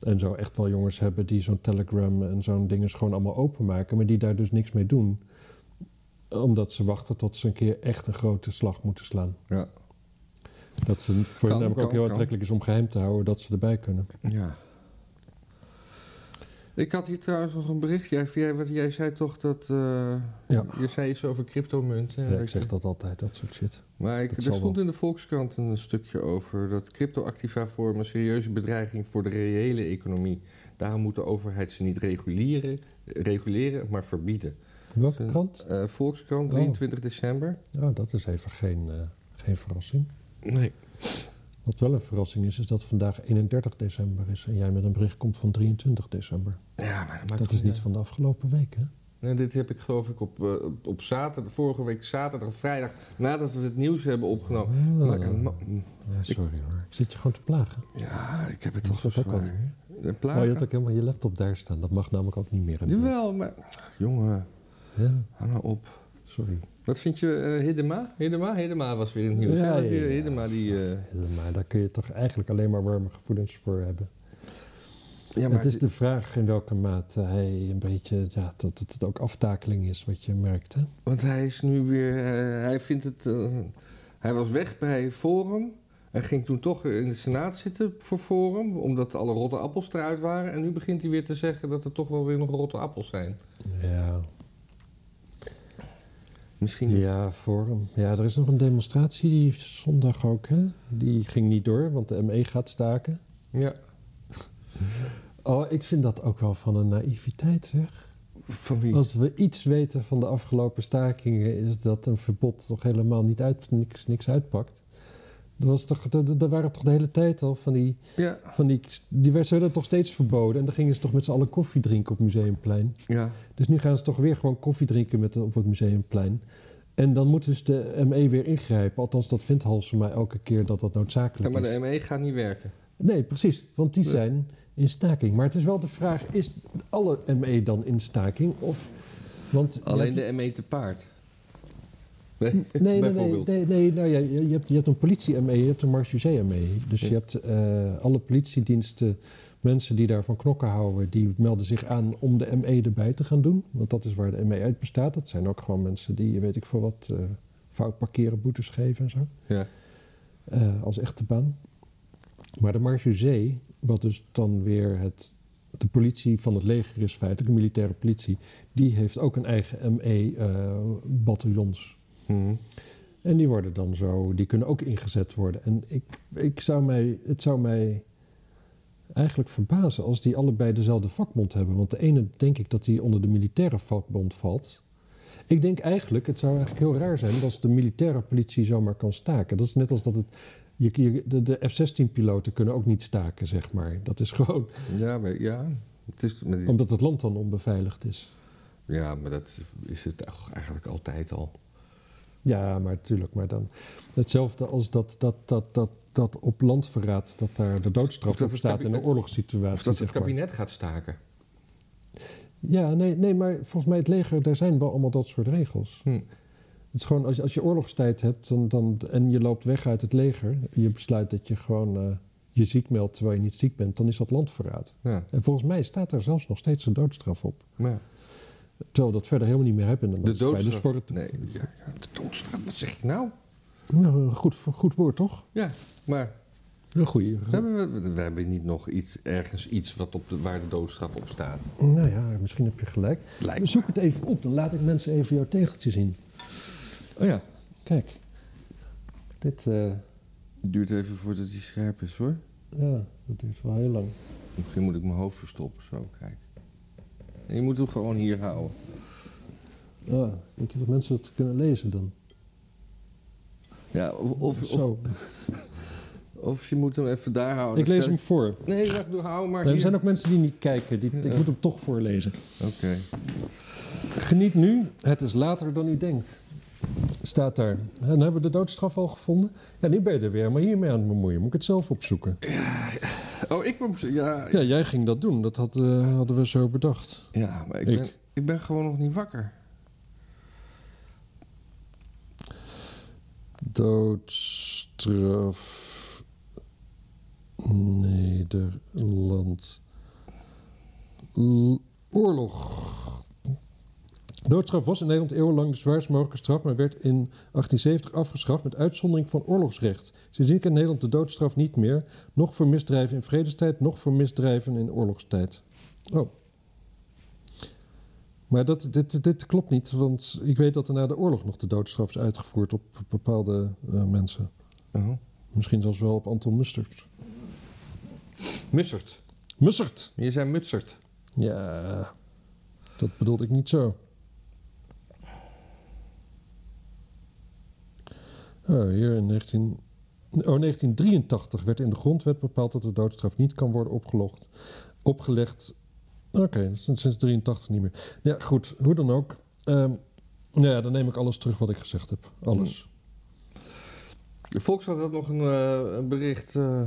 Speaker 1: en zo echt wel jongens hebben die zo'n Telegram en zo'n dingen gewoon allemaal openmaken, maar die daar dus niks mee doen. Omdat ze wachten tot ze een keer echt een grote slag moeten slaan.
Speaker 2: Ja.
Speaker 1: Dat ze voor hen
Speaker 2: Kan,
Speaker 1: namelijk
Speaker 2: kan,
Speaker 1: ook heel
Speaker 2: kan.
Speaker 1: aantrekkelijk is om geheim te houden dat ze erbij kunnen.
Speaker 2: ja. Ik had hier trouwens nog een berichtje. Jij- Jij, wat, jij zei toch dat... eh,
Speaker 1: Ja.
Speaker 2: Je zei iets over cryptomunten.
Speaker 1: Ja,
Speaker 2: hè,
Speaker 1: ik
Speaker 2: dat
Speaker 1: zeg
Speaker 2: je-
Speaker 1: dat altijd, dat soort shit.
Speaker 2: Maar ik,
Speaker 1: dat
Speaker 2: er
Speaker 1: zal
Speaker 2: stond
Speaker 1: wel.
Speaker 2: in de Volkskrant een stukje over... dat cryptoactiva vormen een serieuze bedreiging voor de reële economie. Daarom moet de overheid ze niet reguleren, reguleren maar verbieden.
Speaker 1: Welke
Speaker 2: Zijn-
Speaker 1: krant?
Speaker 2: Eh, Volkskrant,
Speaker 1: Oh.
Speaker 2: 23 december.
Speaker 1: Oh, dat is even geen, eh, geen verrassing.
Speaker 2: Nee.
Speaker 1: Wat wel een verrassing is, is dat vandaag 31 december is en jij met een bericht komt van 23 december.
Speaker 2: Ja, maar dat, maakt
Speaker 1: Dat
Speaker 2: toch
Speaker 1: is niet
Speaker 2: uit.
Speaker 1: van de afgelopen week, hè?
Speaker 2: Nee, dit heb ik geloof ik op, eh, op- op zaterdag, vorige week zaterdag, vrijdag, nadat we het nieuws hebben opgenomen.
Speaker 1: Ah.
Speaker 2: Maar, eh, ma-
Speaker 1: Ja, sorry hoor. Ik zit je gewoon te plagen.
Speaker 2: ja, ik heb het al
Speaker 1: Dat
Speaker 2: zo
Speaker 1: dat ook al niet.
Speaker 2: zwaar.
Speaker 1: hè?
Speaker 2: De
Speaker 1: Oh, je
Speaker 2: plagen?
Speaker 1: had ook helemaal je laptop daar staan. Dat mag namelijk ook niet meer. in beeld.
Speaker 2: Jawel, maar... Ach, jongen,
Speaker 1: Ja,
Speaker 2: hou nou op.
Speaker 1: sorry.
Speaker 2: Wat vind je, eh, Hidema? Hidema? Hidema was weer in het nieuws.
Speaker 1: Ja,
Speaker 2: hè? Want die,
Speaker 1: ja, ja.
Speaker 2: Hidema die... eh,
Speaker 1: Maar daar kun je toch eigenlijk alleen maar warme gevoelens voor hebben.
Speaker 2: ja, maar
Speaker 1: het is de vraag in welke mate hij een beetje... Ja, dat dat het ook aftakeling is wat je merkt, hè?
Speaker 2: Want hij is nu weer... eh, hij vindt het... eh, hij was weg bij Forum. En ging toen toch in de Senaat zitten voor Forum. Omdat alle rotte appels eruit waren. En nu begint hij weer te zeggen dat er toch wel weer nog rotte appels zijn.
Speaker 1: Ja,
Speaker 2: Misschien...
Speaker 1: ja forum. Ja, er is nog een demonstratie die zondag ook, hè? Die ging niet door, want de ME gaat staken.
Speaker 2: Ja.
Speaker 1: Oh, ik vind dat ook wel van een naïviteit, zeg.
Speaker 2: Van wie?
Speaker 1: Als we iets weten van de afgelopen stakingen, is dat een verbod toch helemaal niet uit, niks, niks uitpakt. Er, was toch, er, er waren toch de hele tijd al van die.
Speaker 2: Ja.
Speaker 1: Van die, die werd- ze werden toch steeds verboden. En dan gingen ze toch met z'n allen koffie drinken op Museumplein.
Speaker 2: Ja.
Speaker 1: Dus nu gaan ze toch weer gewoon koffie drinken met, de- op het Museumplein. En dan moet dus de ME weer ingrijpen. Althans, dat vindt Halsema elke keer dat dat
Speaker 2: Ja,
Speaker 1: noodzakelijk
Speaker 2: maar
Speaker 1: is.
Speaker 2: de ME gaat niet werken.
Speaker 1: Nee, precies. Want die
Speaker 2: Ja.
Speaker 1: zijn in staking. Maar het is wel de vraag, is alle ME dan in staking? Of, want,
Speaker 2: Alleen de ME te paard. Nee,
Speaker 1: Nee, nee, nee,
Speaker 2: bijvoorbeeld.
Speaker 1: nee, nee nou ja, je, je hebt, je hebt een politie-ME, je hebt een marechaussee-ME. Dus
Speaker 2: Ja.
Speaker 1: je hebt eh, alle politiediensten, mensen die daarvan knokken houden... die melden zich aan om de ME erbij te gaan doen. Want dat is waar de ME uit bestaat. Dat zijn ook gewoon mensen die, weet ik veel wat, eh, fout parkeren, boetes geven en zo.
Speaker 2: Ja.
Speaker 1: Eh, als echte baan. Maar de marechaussee, wat dus dan weer het, de politie van het leger is feitelijk, de militaire E, eh, politie... die heeft ook een eigen ME-bataljons...
Speaker 2: Mhm.
Speaker 1: En die worden dan zo, die kunnen ook ingezet worden. En ik, ik zou mij, het zou mij eigenlijk verbazen als die allebei dezelfde vakbond hebben. Want de ene denk ik dat die onder de militaire vakbond valt. Ik denk eigenlijk, het zou eigenlijk heel raar zijn als de militaire politie zomaar kan staken. Dat is net als dat het. Je, je- de de F-16-piloten kunnen ook niet staken, zeg maar. Dat is gewoon
Speaker 2: Ja, maar, ja. Het is met die-
Speaker 1: omdat het land dan onbeveiligd is.
Speaker 2: ja, maar dat is het toch eigenlijk altijd al.
Speaker 1: Ja, maar natuurlijk. Maar dan hetzelfde als dat, dat, dat, dat, dat op landverraad, dat daar de
Speaker 2: Of
Speaker 1: doodstraf
Speaker 2: dat
Speaker 1: op
Speaker 2: het
Speaker 1: staat in een
Speaker 2: kabinet-
Speaker 1: oorlogssituatie.
Speaker 2: Of dat het
Speaker 1: zeg maar.
Speaker 2: kabinet gaat staken.
Speaker 1: Ja, nee, nee, maar volgens mij het leger, daar zijn wel allemaal dat soort regels.
Speaker 2: Hm.
Speaker 1: Het is gewoon, als je, als je oorlogstijd hebt dan, dan, en je loopt weg uit het leger, je besluit dat je gewoon eh, je ziek meldt terwijl je niet ziek bent, dan is dat landverraad.
Speaker 2: Ja.
Speaker 1: En volgens mij staat daar zelfs nog steeds een doodstraf op.
Speaker 2: Ja.
Speaker 1: Terwijl we dat verder helemaal niet meer hebben in de,
Speaker 2: De
Speaker 1: maatschappij.
Speaker 2: doodstraf.
Speaker 1: Dus voor het,
Speaker 2: Nee, ja, ja, de doodstraf, wat zeg je nou?
Speaker 1: Nou, een goed, goed woord, toch?
Speaker 2: Ja, maar
Speaker 1: Een goede.
Speaker 2: hebben we, we hebben niet nog iets, ergens iets wat op de, waar de doodstraf op staat.
Speaker 1: Nou ja, misschien heb je gelijk.
Speaker 2: Lijkt
Speaker 1: Zoek het even op, dan laat ik mensen even jouw tegeltje zien.
Speaker 2: Oh ja.
Speaker 1: Kijk. Dit, eh,
Speaker 2: Duurt even voordat hij scherp is hoor.
Speaker 1: ja, dat duurt wel heel lang.
Speaker 2: Misschien moet ik mijn hoofd verstoppen, zo, kijk. En je moet hem gewoon hier houden.
Speaker 1: Ja, denk je dat mensen dat kunnen lezen dan?
Speaker 2: Ja, of, of, of,
Speaker 1: Zo.
Speaker 2: of je moet hem even daar houden.
Speaker 1: ik
Speaker 2: Dan
Speaker 1: lees
Speaker 2: stel
Speaker 1: hem voor.
Speaker 2: Nee, wacht, doe, hou hem maar
Speaker 1: Nee, er
Speaker 2: hier.
Speaker 1: zijn ook mensen die niet kijken. Die, ik
Speaker 2: Ja.
Speaker 1: moet hem toch voorlezen.
Speaker 2: Oké.
Speaker 1: Geniet nu, het is later dan u denkt. Staat daar. En hebben we de doodstraf al gevonden? Ja, nu ben je er weer, maar hiermee aan het bemoeien. Moet ik het zelf opzoeken?
Speaker 2: Oh, ik ben... Ja, ja.
Speaker 1: Ja, jij ging dat doen. Dat had, eh, hadden we zo bedacht.
Speaker 2: maar ik
Speaker 1: Ik.
Speaker 2: ben, ik ben gewoon nog niet wakker.
Speaker 1: Doodstraf Nederland. L- oorlog. Doodstraf was in Nederland eeuwenlang de zwaarst mogelijke straf, maar werd in 1870 afgeschaft met uitzondering van oorlogsrecht. Sindsdien kent Nederland de doodstraf niet meer, nog voor misdrijven in vredestijd, nog voor misdrijven in oorlogstijd. Oh. Maar dat, dit, dit klopt niet, want ik weet dat er na de oorlog nog de doodstraf is uitgevoerd op bepaalde eh, mensen.
Speaker 2: Oh.
Speaker 1: Misschien zelfs wel op Anton Mustert.
Speaker 2: Mussert.
Speaker 1: Mustert!
Speaker 2: Je zei Mutsert.
Speaker 1: Ja, dat bedoelde ik niet zo. Oh, hier in 19... oh, 1983 werd in de grondwet bepaald dat de doodstraf niet kan worden opgelogd, opgelegd. Oké, dat is sinds 83 niet meer. Ja, goed, hoe dan ook. Ehm, nou ja, dan neem ik alles terug wat ik gezegd heb. Alles.
Speaker 2: De Volkskrant had nog een, eh, een bericht. eh,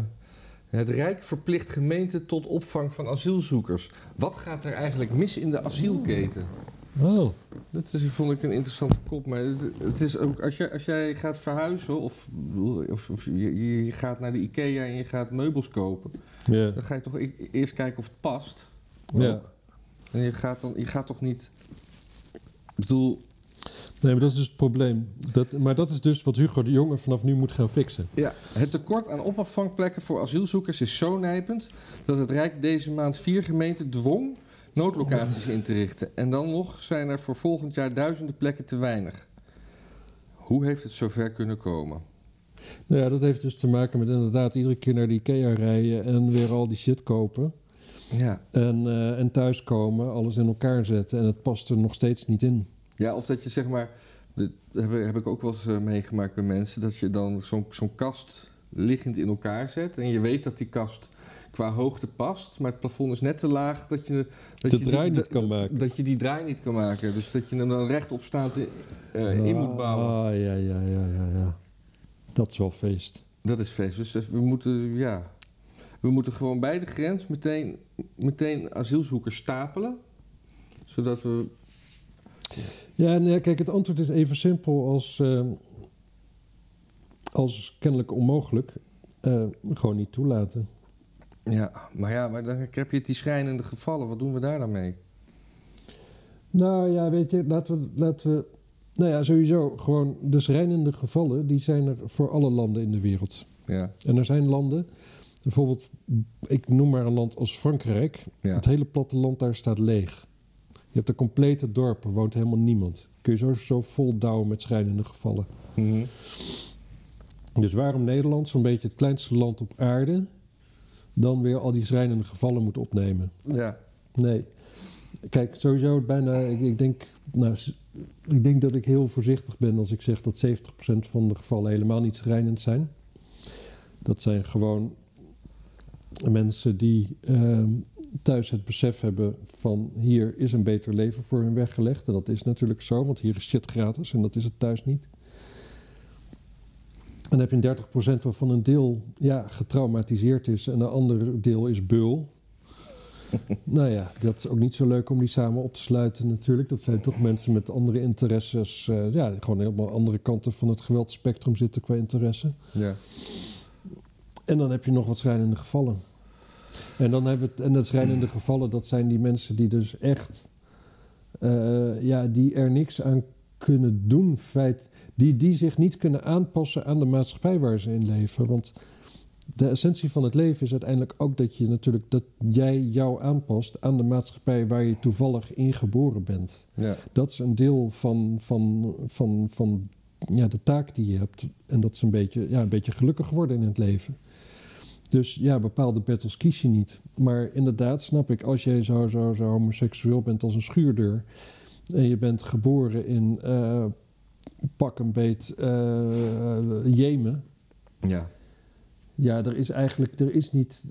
Speaker 2: het Rijk verplicht gemeenten tot opvang van asielzoekers. Wat gaat er eigenlijk mis in de asielketen?
Speaker 1: Oh,
Speaker 2: Dat is, vond ik een interessante kop. Maar het- het is ook, als, jij, als jij gaat verhuizen of, of, of je, je gaat naar de IKEA en je gaat meubels kopen,
Speaker 1: ja.
Speaker 2: dan ga je toch e- eerst kijken of het past.
Speaker 1: ja.
Speaker 2: En je gaat, dan, je gaat toch niet. Ik bedoel,
Speaker 1: Nee, maar dat is dus het probleem. Dat, maar dat is dus wat Hugo de Jonge vanaf nu moet gaan fixen.
Speaker 2: Ja, het tekort aan opvangplekken voor asielzoekers is zo nijpend dat het Rijk deze maand vier gemeenten dwong noodlocaties in te richten. En dan nog zijn er voor volgend jaar duizenden plekken te weinig. Hoe heeft het zover kunnen komen?
Speaker 1: Nou ja, dat heeft dus te maken met inderdaad iedere keer naar de IKEA rijden en weer al die shit kopen.
Speaker 2: Ja.
Speaker 1: En, eh en thuiskomen, alles in elkaar zetten en het past er nog steeds niet in.
Speaker 2: ja, of dat je zeg maar, dat heb, heb ik ook wel eens eh, meegemaakt bij mensen, dat je dan zo'n zo'n kast liggend in elkaar zet en je weet dat die kast qua hoogte past, maar het plafond is net te laag dat je dat
Speaker 1: de
Speaker 2: je die-
Speaker 1: draai niet
Speaker 2: dat-
Speaker 1: kan maken.
Speaker 2: Dat je die draai niet kan maken. Dus dat je hem dan rechtop staand in, eh, in moet bouwen.
Speaker 1: Ah, ja, ja, ja, ja, ja. Dat is wel feest.
Speaker 2: Dat is feest. Dus, dus we moeten, ja... We moeten gewoon bij de grens meteen, meteen asielzoekers stapelen. Zodat we...
Speaker 1: Ja, en ja, kijk, het antwoord is even simpel als, eh, als kennelijk onmogelijk. Eh, gewoon niet toelaten.
Speaker 2: Ja, maar ja, maar dan heb je het die schrijnende gevallen. Wat doen we daar dan mee?
Speaker 1: Nou ja, weet je, laten we, laten we. Nou ja, sowieso gewoon de schrijnende gevallen, die zijn er voor alle landen in de wereld.
Speaker 2: Ja,
Speaker 1: En er zijn landen, bijvoorbeeld, ik noem maar een land als Frankrijk.
Speaker 2: ja.
Speaker 1: Het hele platteland daar staat leeg. Je hebt een complete dorp, er woont helemaal niemand. Kun je zo, zo vol douwen met schrijnende gevallen.
Speaker 2: Mhm.
Speaker 1: Dus waarom Nederland, zo'n beetje het kleinste land op aarde, dan weer al die schrijnende gevallen moet opnemen?
Speaker 2: Ja.
Speaker 1: Nee. Kijk, sowieso bijna. Ik, ik, denk, nou, s- ik denk dat ik heel voorzichtig ben als ik zeg dat 70% van de gevallen helemaal niet schrijnend zijn. Dat zijn gewoon mensen die ehm, thuis het besef hebben van hier is een beter leven voor hun weggelegd. En dat is natuurlijk zo, want hier is shit gratis en dat is het thuis niet. En dan heb je een 30% waarvan een deel ja, getraumatiseerd is en een ander deel is beul. Nou ja, dat is ook niet zo leuk om die samen op te sluiten natuurlijk. Dat zijn toch mensen met andere interesses. eh, ja, die gewoon helemaal andere kanten van het geweldspectrum zitten qua interesse.
Speaker 2: Ja.
Speaker 1: En dan heb je nog wat schrijnende gevallen. En dan hebben we het, en dat schrijnende gevallen, dat zijn die mensen die dus echt, eh, ja, die er niks aan kunnen doen, feit, die, die zich niet kunnen aanpassen aan de maatschappij waar ze in leven. Want de essentie van het leven is uiteindelijk ook dat je natuurlijk, dat jij jou aanpast aan de maatschappij waar je toevallig in geboren bent
Speaker 2: Ja.
Speaker 1: dat is een deel van, van, van, van ja, de taak die je hebt. En dat is een beetje, ja, een beetje gelukkig worden in het leven. Dus ja, bepaalde battles kies je niet. Maar inderdaad, snap ik, als jij zo, zo, zo homoseksueel bent als een schuurdeur. en je bent geboren in eh, pak een beet eh, Jemen.
Speaker 2: Ja.
Speaker 1: Ja, er is eigenlijk er is niet.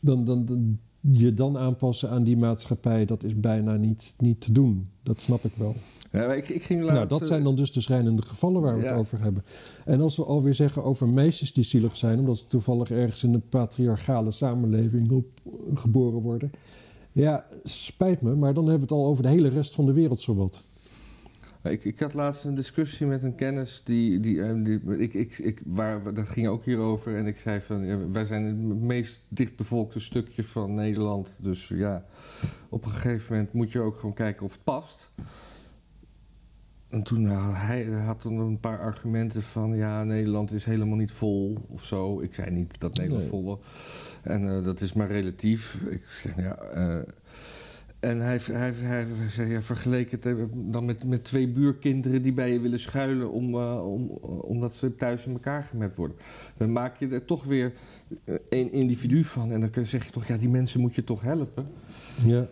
Speaker 1: Dan, dan, dan- je dan aanpassen aan die maatschappij, dat is bijna niet, niet te doen. Dat snap ik wel.
Speaker 2: Ja, maar ik, ik ging laatst...
Speaker 1: Nou, dat zijn dan dus de schrijnende gevallen waar we
Speaker 2: Ja.
Speaker 1: het over hebben. En als we alweer zeggen over meisjes die zielig zijn, omdat ze toevallig ergens in een patriarchale samenleving op, geboren worden. Ja, spijt me, maar dan hebben we het al over de hele rest van de wereld zowat.
Speaker 2: Ik, ik had laatst een discussie met een kennis die. die, eh, die- ik, ik, ik, waar, we- dat ging ook hierover. En ik zei van. ja, wij zijn het meest dichtbevolkte stukje van Nederland. Dus ja. Op een gegeven moment moet je ook gewoon kijken of het past. En toen had hij hij had toen een paar argumenten van. Ja, Nederland is helemaal niet vol of zo. Ik zei niet dat Nederland
Speaker 1: Nee.
Speaker 2: vol was. En eh, dat is maar relatief. Ik zeg, ja. eh, en hij, hij, hij, hij zei, ja, vergeleek het eh, dan met, met twee buurkinderen die bij je willen schuilen om, eh, om, eh, omdat ze thuis in elkaar gemapt worden. Dan maak je er toch weer eh, één individu van. En dan kun- zeg je toch, ja, die mensen moet je toch helpen.
Speaker 1: Ja.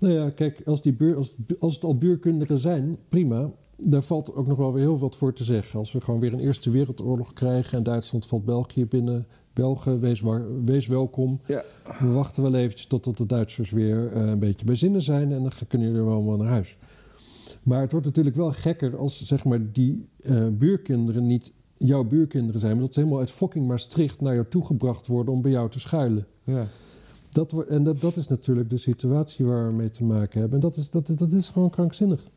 Speaker 1: Nou ja, kijk, als, die buur, als, als het al buurkunderen zijn, prima. Daar valt ook nog wel weer heel wat voor te zeggen. Als we gewoon weer een Eerste Wereldoorlog krijgen en Duitsland valt België binnen. Belgen, wees, waar- wees welkom.
Speaker 2: Ja.
Speaker 1: We wachten wel eventjes totdat de Duitsers weer eh, een beetje bij zinnen zijn en dan gaan- kunnen jullie allemaal naar huis. Maar het wordt natuurlijk wel gekker als zeg maar, die eh, buurkinderen niet jouw buurkinderen zijn, maar dat ze helemaal uit fucking Maastricht naar jou toegebracht worden om bij jou te schuilen.
Speaker 2: Ja.
Speaker 1: Dat wordt, en dat, dat is natuurlijk de situatie waar we mee te maken hebben. En dat is, dat, dat is gewoon krankzinnig.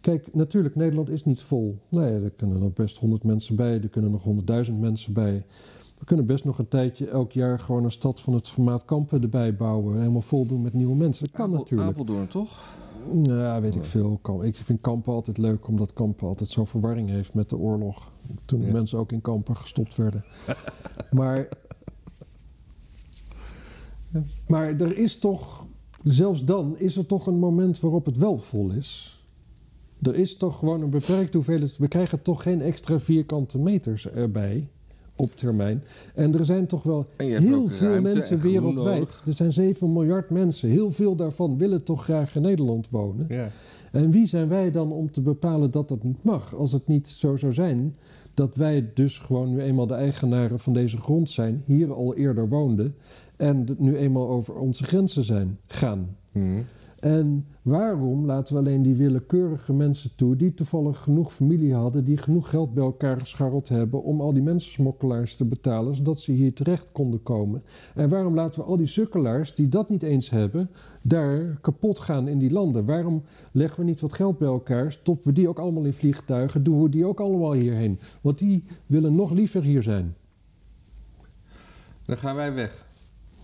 Speaker 1: Kijk, natuurlijk, Nederland is niet vol. Nou ja, er kunnen nog best honderd mensen bij. Er kunnen nog honderdduizend mensen bij. We kunnen best nog een tijdje elk jaar gewoon een stad van het formaat Kampen erbij bouwen. Helemaal vol doen met nieuwe mensen. Dat kan natuurlijk.
Speaker 2: Apeldoorn, toch?
Speaker 1: Ja, weet ik veel. Kam- Ik vind Kampen altijd leuk, omdat Kampen altijd zo'n verwarring heeft met de oorlog. Toen de
Speaker 2: Ja.
Speaker 1: mensen ook in Kampen gestopt werden. maar, maar er is toch, zelfs dan, is er toch een moment waarop het wel vol is. Er is toch gewoon een beperkte hoeveelheid. We krijgen toch geen extra vierkante meters erbij op termijn. En er zijn toch wel
Speaker 2: En je hebt
Speaker 1: heel
Speaker 2: ook
Speaker 1: veel
Speaker 2: ruimte
Speaker 1: mensen
Speaker 2: en groen
Speaker 1: wereldwijd.
Speaker 2: nodig.
Speaker 1: Er zijn 7 miljard mensen. Heel veel daarvan willen toch graag in Nederland wonen.
Speaker 2: Ja.
Speaker 1: En wie zijn wij dan om te bepalen dat dat niet mag? Als het niet zo zou zijn dat wij dus gewoon nu eenmaal de eigenaren van deze grond zijn, hier al eerder woonden en het nu eenmaal over onze grenzen zijn gaan. En waarom laten we alleen die willekeurige mensen toe die toevallig genoeg familie hadden, die genoeg geld bij elkaar gescharreld hebben om al die mensensmokkelaars te betalen, zodat ze hier terecht konden komen? En waarom laten we al die sukkelaars die dat niet eens hebben, daar kapot gaan in die landen? Waarom leggen we niet wat geld bij elkaar, stoppen we die ook allemaal in vliegtuigen, doen we die ook allemaal hierheen? Want die willen nog liever hier zijn.
Speaker 2: Dan gaan wij weg.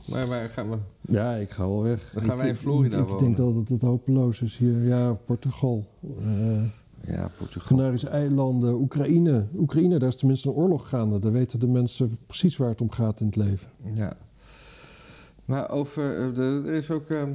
Speaker 2: Maar, maar gaan we...
Speaker 1: Ja, ik ga wel weg.
Speaker 2: Dan gaan
Speaker 1: Ik-
Speaker 2: wij in Florida
Speaker 1: ik, ik,
Speaker 2: wonen.
Speaker 1: denk dat het, het hopeloos is hier. Ja, Portugal. Eh,
Speaker 2: Ja, Portugal.
Speaker 1: Canarische eilanden, Oekraïne. Oekraïne, daar is tenminste een oorlog gaande. Daar weten de mensen precies waar het om gaat in het leven.
Speaker 2: Ja. Maar over. eh, de- Er is ook. ehm,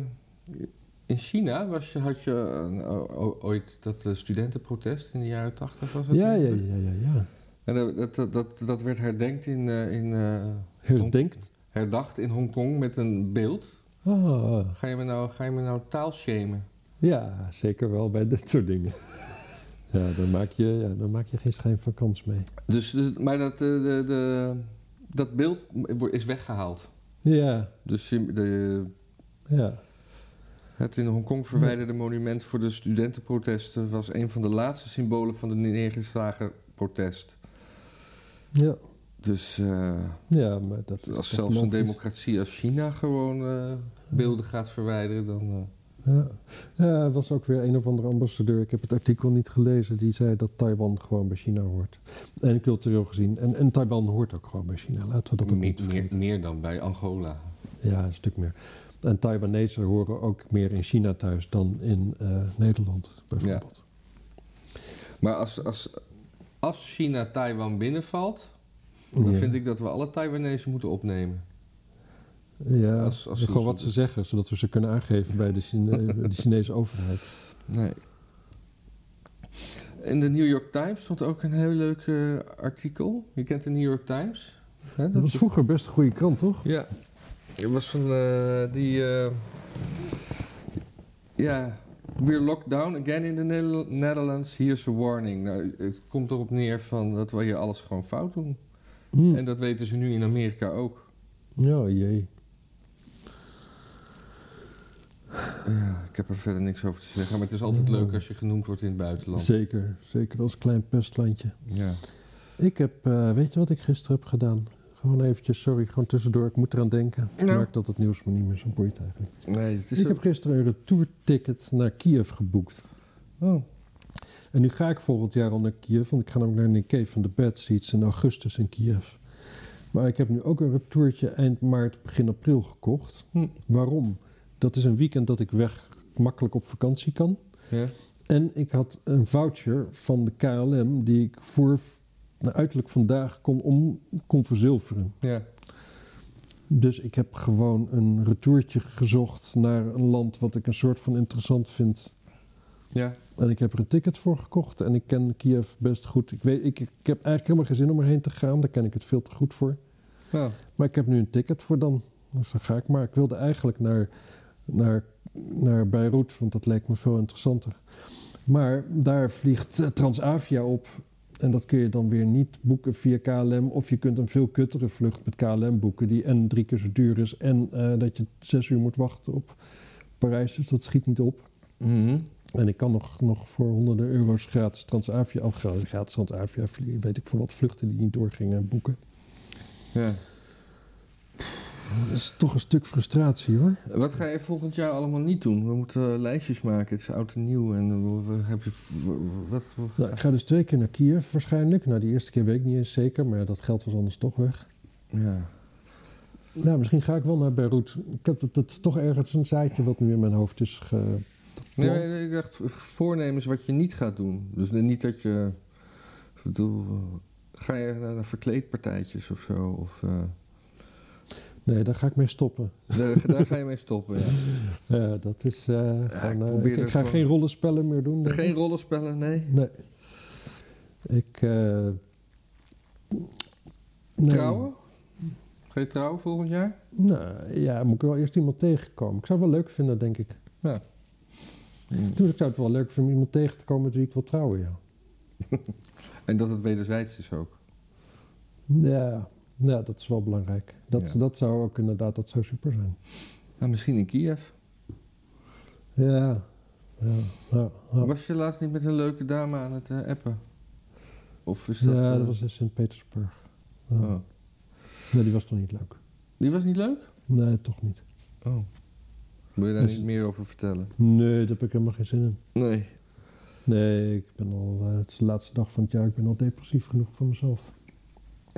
Speaker 2: In China was je, had je een- o- o- ooit dat eh, studentenprotest in de jaren 80 was het?
Speaker 1: Ja, ja,
Speaker 2: 90?
Speaker 1: ja, ja, ja.
Speaker 2: En eh, dat, dat, dat, dat werd herdenkt in, eh, in, eh,
Speaker 1: Herdenkt.
Speaker 2: herdacht in Hongkong met een beeld.
Speaker 1: Ah,
Speaker 2: Ga je me nou, ga je me nou taal shamen?
Speaker 1: ja, zeker wel bij dit soort dingen. Ja, daar maak je, ja, daar maak je geen schijn van kans mee.
Speaker 2: Dus, eh, maar dat, eh, de, de, dat beeld is weggehaald.
Speaker 1: Ja,
Speaker 2: Dus je- de,
Speaker 1: ja.
Speaker 2: het in Hongkong verwijderde monument voor de studentenprotesten was een van de laatste symbolen van de neergeslagen protest.
Speaker 1: Ja,
Speaker 2: Dus eh,
Speaker 1: ja maar dat is
Speaker 2: als
Speaker 1: toch
Speaker 2: zelfs een
Speaker 1: logisch.
Speaker 2: democratie als China gewoon eh, beelden gaat verwijderen, dan. eh,
Speaker 1: Ja. ja, er was ook weer een of andere ambassadeur, ik heb het artikel niet gelezen, die zei dat Taiwan gewoon bij China hoort. En cultureel gezien. En, en Taiwan hoort ook gewoon bij China, laten we dat ook
Speaker 2: meer-
Speaker 1: niet vergeten.
Speaker 2: meer, meer dan bij Angola.
Speaker 1: Ja, een stuk meer. En Taiwanese horen ook meer in China thuis dan in eh, Nederland, bijvoorbeeld.
Speaker 2: Maar als, als, als China Taiwan binnenvalt,
Speaker 1: Ja,
Speaker 2: dan vind ik dat we alle Taiwanese moeten opnemen.
Speaker 1: ja.
Speaker 2: als- als-
Speaker 1: gewoon wat ze zeggen, zodat we ze kunnen aangeven bij de, Chine- de Chinese overheid.
Speaker 2: Nee. In de New York Times stond ook een heel leuk eh, artikel. Je kent de New York Times? Hè,
Speaker 1: Dat was
Speaker 2: is-
Speaker 1: vroeger best een goede krant, toch?
Speaker 2: Ja. Het was van eh, die... eh, Ja, we're locked down again in the Nel- Netherlands. Here's a warning. Nou, het komt erop neer van dat we hier alles gewoon fout doen.
Speaker 1: Hmm.
Speaker 2: En dat weten ze nu in Amerika ook.
Speaker 1: Ja, jee.
Speaker 2: Ja, Eh, ik heb er verder niks over te zeggen. Maar het is altijd leuk als je genoemd wordt in het buitenland.
Speaker 1: Zeker, zeker als klein pestlandje.
Speaker 2: Ja.
Speaker 1: Ik heb, eh, weet je wat ik gisteren heb gedaan? Gewoon eventjes, sorry, gewoon tussendoor. Ik moet eraan denken. Ik
Speaker 2: Nou.
Speaker 1: merk dat het nieuws me niet meer zo boeit eigenlijk.
Speaker 2: Nee, het is...
Speaker 1: Ik heb gisteren een retourticket naar Kiev geboekt.
Speaker 2: Oh.
Speaker 1: En nu ga ik volgend jaar al naar Kiev, want ik ga namelijk naar Nikkei van de Bad Seats in augustus in Kiev. Maar ik heb nu ook een retourtje eind maart, begin april gekocht.
Speaker 2: Hm.
Speaker 1: Waarom? Dat is een weekend dat ik weg makkelijk op vakantie kan.
Speaker 2: Ja.
Speaker 1: En ik had een voucher van de KLM die ik voor nou, uiterlijk vandaag kon, om, kon verzilveren.
Speaker 2: Ja.
Speaker 1: Dus ik heb gewoon een retourtje gezocht naar een land wat ik een soort van interessant vind.
Speaker 2: Ja.
Speaker 1: En ik heb er een ticket voor gekocht en ik ken Kiev best goed. Ik, weet, ik, ik heb eigenlijk helemaal geen zin om erheen te gaan, daar ken ik het veel te goed voor.
Speaker 2: Nou,
Speaker 1: Maar ik heb nu een ticket voor dan, dus dan ga ik maar. Ik wilde eigenlijk naar, naar, naar Beirut, want dat leek me veel interessanter. Maar daar vliegt eh, Transavia op en dat kun je dan weer niet boeken via KLM. Of je kunt een veel kuttere vlucht met KLM boeken, die en drie keer zo duur is en eh, dat je zes uur moet wachten op Parijs, dus dat schiet niet op.
Speaker 2: mhm.
Speaker 1: En ik kan nog, nog voor honderden euro's gratis Transavia, of gratis Transavia, vlie- weet ik voor wat vluchten die niet doorgingen boeken.
Speaker 2: ja.
Speaker 1: Dat is toch een stuk frustratie hoor.
Speaker 2: Wat ga je volgend jaar allemaal niet doen? We moeten eh, lijstjes maken. Het is oud en nieuw. En eh, we- we- heb je. v- w- Wat, wat-
Speaker 1: Nou, ik ga dus twee keer naar Kiev waarschijnlijk. Nou, die eerste keer weet ik niet eens zeker, maar ja, dat geld was anders toch weg.
Speaker 2: ja.
Speaker 1: Nou, misschien ga ik wel naar Beirut. Ik heb dat, dat is toch ergens een zaadje wat nu in mijn hoofd is ge...
Speaker 2: Nee,
Speaker 1: Want-
Speaker 2: nee, ik dacht v- voornemens wat je niet gaat doen. Dus niet dat je. Ik bedoel, eh, ga je naar, naar verkleedpartijtjes of zo? Of, eh,
Speaker 1: Nee, daar ga ik mee stoppen.
Speaker 2: daar, daar ga je mee stoppen. Ja.
Speaker 1: Eh, dat is eh, gewoon,
Speaker 2: ik
Speaker 1: eh,
Speaker 2: probeer
Speaker 1: ik,
Speaker 2: er
Speaker 1: ik ga
Speaker 2: gewoon-
Speaker 1: geen rollenspellen meer doen. denk ik.
Speaker 2: Geen rollenspellen, nee.
Speaker 1: Nee. Ik... eh, nee.
Speaker 2: Trouwen? Ga je trouwen volgend jaar?
Speaker 1: Nou ja, moet ik wel eerst iemand tegenkomen. Ik zou het wel leuk vinden, denk ik.
Speaker 2: Ja.
Speaker 1: Dus ik zou het wel leuk vinden om iemand tegen te komen met wie ik wil trouwen, ja.
Speaker 2: En dat het wederzijds is ook.
Speaker 1: Ja, ja dat is wel belangrijk. Dat,
Speaker 2: Ja.
Speaker 1: dat zou ook inderdaad, dat zou super zijn.
Speaker 2: Nou, misschien in Kiev.
Speaker 1: Ja, ja, ja. ja.
Speaker 2: Was je laatst niet met een leuke dame aan het eh, appen? Of is dat...
Speaker 1: Ja,
Speaker 2: eh,
Speaker 1: dat was in Sint-Petersburg. Ja.
Speaker 2: oh.
Speaker 1: Nee, die was toch niet leuk?
Speaker 2: Die was niet leuk?
Speaker 1: Nee, toch niet.
Speaker 2: Oh. Wil je daar
Speaker 1: Dus-
Speaker 2: niet meer over vertellen?
Speaker 1: Nee, daar heb ik helemaal geen zin in.
Speaker 2: Nee.
Speaker 1: Nee, ik ben al, eh, het is de laatste dag van het jaar, ik ben al depressief genoeg voor mezelf.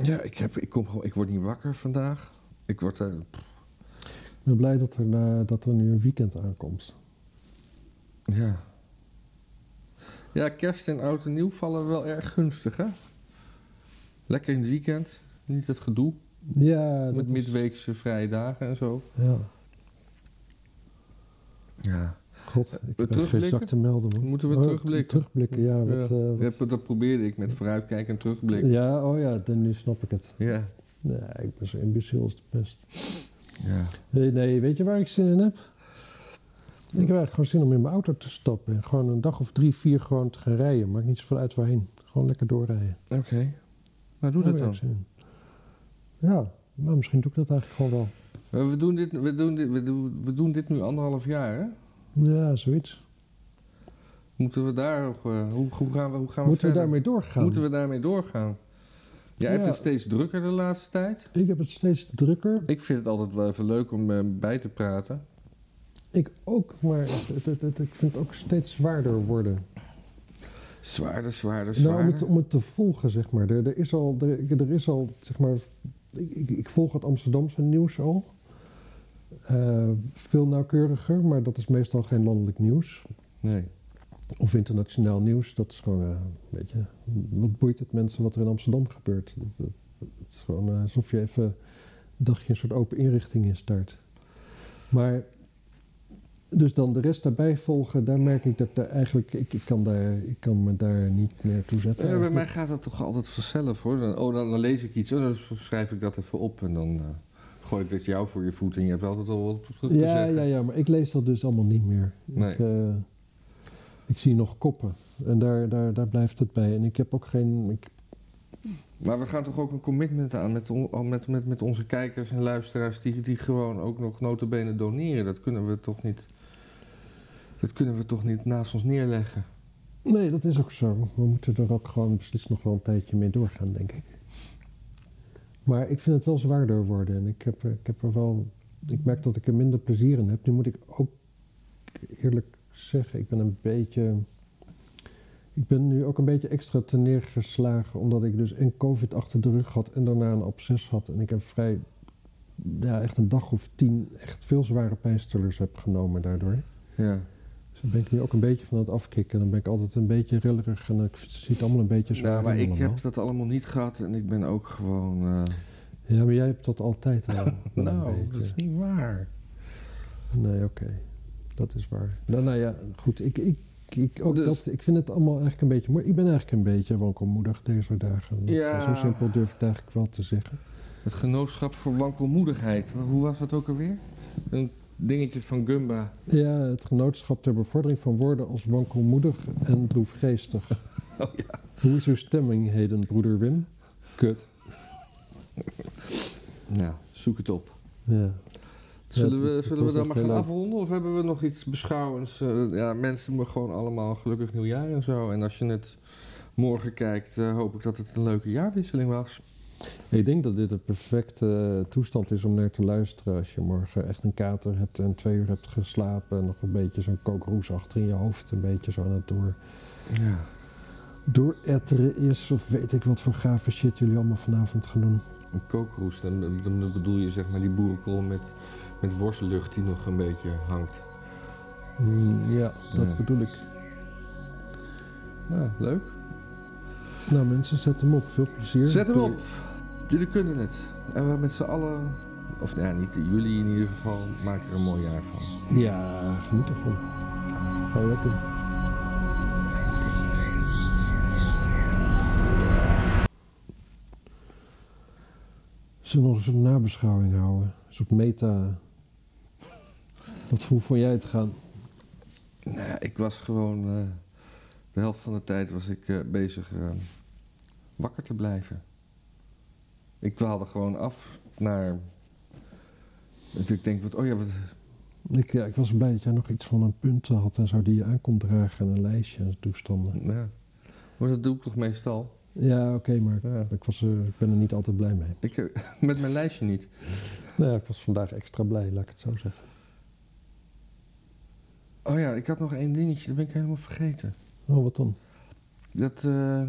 Speaker 2: Ja, ik, heb, ik, kom gewoon, ik word niet wakker vandaag. Ik word... eh,
Speaker 1: Ik ben blij dat er, eh, dat er nu een weekend aankomt.
Speaker 2: ja. Ja, kerst en oud en nieuw vallen wel erg gunstig, hè? Lekker in het weekend. Niet dat gedoe.
Speaker 1: Ja, dat
Speaker 2: Met
Speaker 1: is-
Speaker 2: midweekse vrije dagen en zo.
Speaker 1: Ja.
Speaker 2: Ja.
Speaker 1: god, ik heb geen
Speaker 2: terugblikken?
Speaker 1: zak te melden. man.
Speaker 2: Moeten we
Speaker 1: Oh,
Speaker 2: terugblikken?
Speaker 1: Terugblikken, ja. Wat, eh, wat-
Speaker 2: Ja, dat probeerde ik met vooruitkijken en terugblik. Ja.
Speaker 1: ja, oh ja, dan nu snap ik het.
Speaker 2: Ja.
Speaker 1: Nee, ik ben zo imbeciel als de pest. Nee, nee, weet je waar ik zin in heb? Ik heb eigenlijk gewoon zin om in mijn auto te stappen. En gewoon een dag of drie, vier gewoon te gaan rijden. Maakt niet zoveel uit waarheen. Gewoon lekker doorrijden.
Speaker 2: Oké. Maar doe
Speaker 1: Daar
Speaker 2: dat
Speaker 1: heb Oh, ik
Speaker 2: dan.
Speaker 1: zin in. Ja, nou, misschien doe ik dat eigenlijk gewoon wel.
Speaker 2: Maar We doen dit, we doen dit, we doen, we doen dit nu anderhalf jaar, hè?
Speaker 1: Ja, zoiets.
Speaker 2: Moeten we daar... op, eh, hoe, hoe gaan we, hoe gaan
Speaker 1: Moeten
Speaker 2: we
Speaker 1: we
Speaker 2: verder?
Speaker 1: daarmee doorgaan?
Speaker 2: Moeten we daarmee doorgaan? Jij hebt
Speaker 1: Ja.
Speaker 2: het steeds drukker de laatste tijd.
Speaker 1: Ik heb het steeds drukker.
Speaker 2: Ik vind het altijd wel even leuk om eh, bij te praten.
Speaker 1: Ik ook, maar het, het, het- het- ik vind het ook steeds zwaarder worden.
Speaker 2: Zwaarder, zwaarder,
Speaker 1: Nou, om,
Speaker 2: zwaarder.
Speaker 1: het, om het te volgen, zeg maar. Er, er is al, er, er is al zeg maar, ik, ik, ik volg het Amsterdamse nieuws al. Eh, veel nauwkeuriger, maar dat is meestal geen landelijk nieuws.
Speaker 2: Nee.
Speaker 1: Of internationaal nieuws. Dat is gewoon, eh, weet je, wat boeit het mensen wat er in Amsterdam gebeurt? Het, het- het is gewoon eh, alsof je even een dagje een soort open inrichting instart. Maar, dus dan de rest daarbij volgen, daar merk ik dat daar eigenlijk, ik, ik, kan daar, ik kan me daar niet meer toe zetten.
Speaker 2: Eh, bij
Speaker 1: eigenlijk.
Speaker 2: mij gaat dat toch altijd vanzelf, hoor. Dan, oh, dan, dan lees ik iets. Oh, dan schrijf ik dat even op. En dan eh, gooi ik dat jou voor je voet. En je hebt altijd al wat op terug te
Speaker 1: Ja,
Speaker 2: zeggen.
Speaker 1: ja, ja, maar ik lees dat dus allemaal niet meer.
Speaker 2: Nee.
Speaker 1: Ik, eh, ik zie nog koppen en daar, daar, daar blijft het bij. En ik heb ook geen. Ik,
Speaker 2: Maar we gaan toch ook een commitment aan met, on- al met, met, met onze kijkers en luisteraars... Die, die gewoon ook nog notabene doneren. Dat kunnen we toch niet... Dat kunnen we toch niet naast ons neerleggen.
Speaker 1: nee, dat is ook zo. We moeten er ook gewoon beslist nog wel een tijdje mee doorgaan, denk ik. Maar ik vind het wel zwaarder worden en ik heb, er- ik heb er wel. Ik merk dat ik er minder plezier in heb. Nu moet ik ook eerlijk zeggen, ik ben een beetje. Ik ben nu ook een beetje extra te neergeslagen, omdat ik dus en COVID achter de rug had en daarna een absces had. En ik heb vrij, ja, echt een dag of tien echt veel zware pijnstillers heb genomen daardoor.
Speaker 2: Ja.
Speaker 1: Dus daar ben ik nu ook een beetje van aan het afkicken. Dan ben ik altijd een beetje rillerig en ik zie het allemaal een beetje zwaar.
Speaker 2: Nou, maar
Speaker 1: in
Speaker 2: ik
Speaker 1: allemaal.
Speaker 2: heb dat allemaal niet gehad en ik ben ook gewoon... eh,
Speaker 1: Ja, maar jij hebt dat altijd wel. wel een
Speaker 2: nou,
Speaker 1: beetje.
Speaker 2: dat is niet waar.
Speaker 1: Nee, oké. Dat is waar. Nou, nou ja, goed. Ik, ik, ik, ook
Speaker 2: Dus-
Speaker 1: dat, ik vind het allemaal eigenlijk een beetje moeilijk. Ik ben eigenlijk een beetje wankelmoedig deze dagen. Dat,
Speaker 2: Ja.
Speaker 1: Zo simpel durf ik het eigenlijk wel te zeggen.
Speaker 2: Het genootschap voor wankelmoedigheid. Hoe was dat ook alweer? Een dingetje van Gumba.
Speaker 1: Ja, het genootschap ter bevordering van woorden als wankelmoedig en droefgeestig.
Speaker 2: Oh
Speaker 1: Hoe is uw stemming heden, broeder Wim? Kut.
Speaker 2: Nou, zoek het op.
Speaker 1: Ja.
Speaker 2: Zullen
Speaker 1: Ja,
Speaker 2: we,
Speaker 1: dat-
Speaker 2: zullen we
Speaker 1: dat was
Speaker 2: dan
Speaker 1: echt
Speaker 2: maar
Speaker 1: heel
Speaker 2: gaan
Speaker 1: leuk.
Speaker 2: afronden? Of hebben we nog iets beschouwends? Eh, ja, mensen me gewoon allemaal gelukkig nieuwjaar en zo. En als je het morgen kijkt, eh, hoop ik dat het een leuke jaarwisseling was.
Speaker 1: Ik denk dat dit de perfecte eh, toestand is om naar te luisteren als je morgen echt een kater hebt en twee uur hebt geslapen en nog een beetje zo'n kookroes achter in je hoofd, een beetje zo aan het door.
Speaker 2: Ja.
Speaker 1: dooretteren is. Of weet ik wat voor gave shit jullie allemaal vanavond gaan doen.
Speaker 2: Een kookroes, dan, dan- dan bedoel je zeg maar die boerenkool met, met worstlucht die nog een beetje hangt.
Speaker 1: ja, dat
Speaker 2: Mm, Ja.
Speaker 1: bedoel ik.
Speaker 2: Ja, leuk.
Speaker 1: Nou mensen, zet hem op. Veel plezier.
Speaker 2: Zet hem
Speaker 1: Doei.
Speaker 2: op. Jullie kunnen het. En we met z'n allen, of nou ja, niet jullie in ieder geval, maken er een mooi jaar van.
Speaker 1: Ja, geniet ervan. Ga je lekker. Zullen we nog eens een nabeschouwing houden? Een soort meta. Wat hoe vond jij het gaan?
Speaker 2: Nou ja, ik was gewoon... eh, de helft van de tijd was ik eh, bezig eh, wakker te blijven. Ik dwaalde gewoon af naar... dat ik denk, wat, oh ja, wat,
Speaker 1: Ik, ja, ik was blij dat jij nog iets van een punten had en zo die je aan kon dragen en een lijstje en toestanden.
Speaker 2: ja. Maar dat doe ik toch meestal?
Speaker 1: Ja, oké, maar
Speaker 2: Ja.
Speaker 1: ik, was, eh, ik ben er niet altijd blij mee.
Speaker 2: Ik, eh, met mijn lijstje niet.
Speaker 1: Nou ja, ik was vandaag extra blij, laat ik het zo zeggen.
Speaker 2: Oh ja, ik had nog één dingetje, dat ben ik helemaal vergeten.
Speaker 1: Oh, wat dan?
Speaker 2: Dat, eh,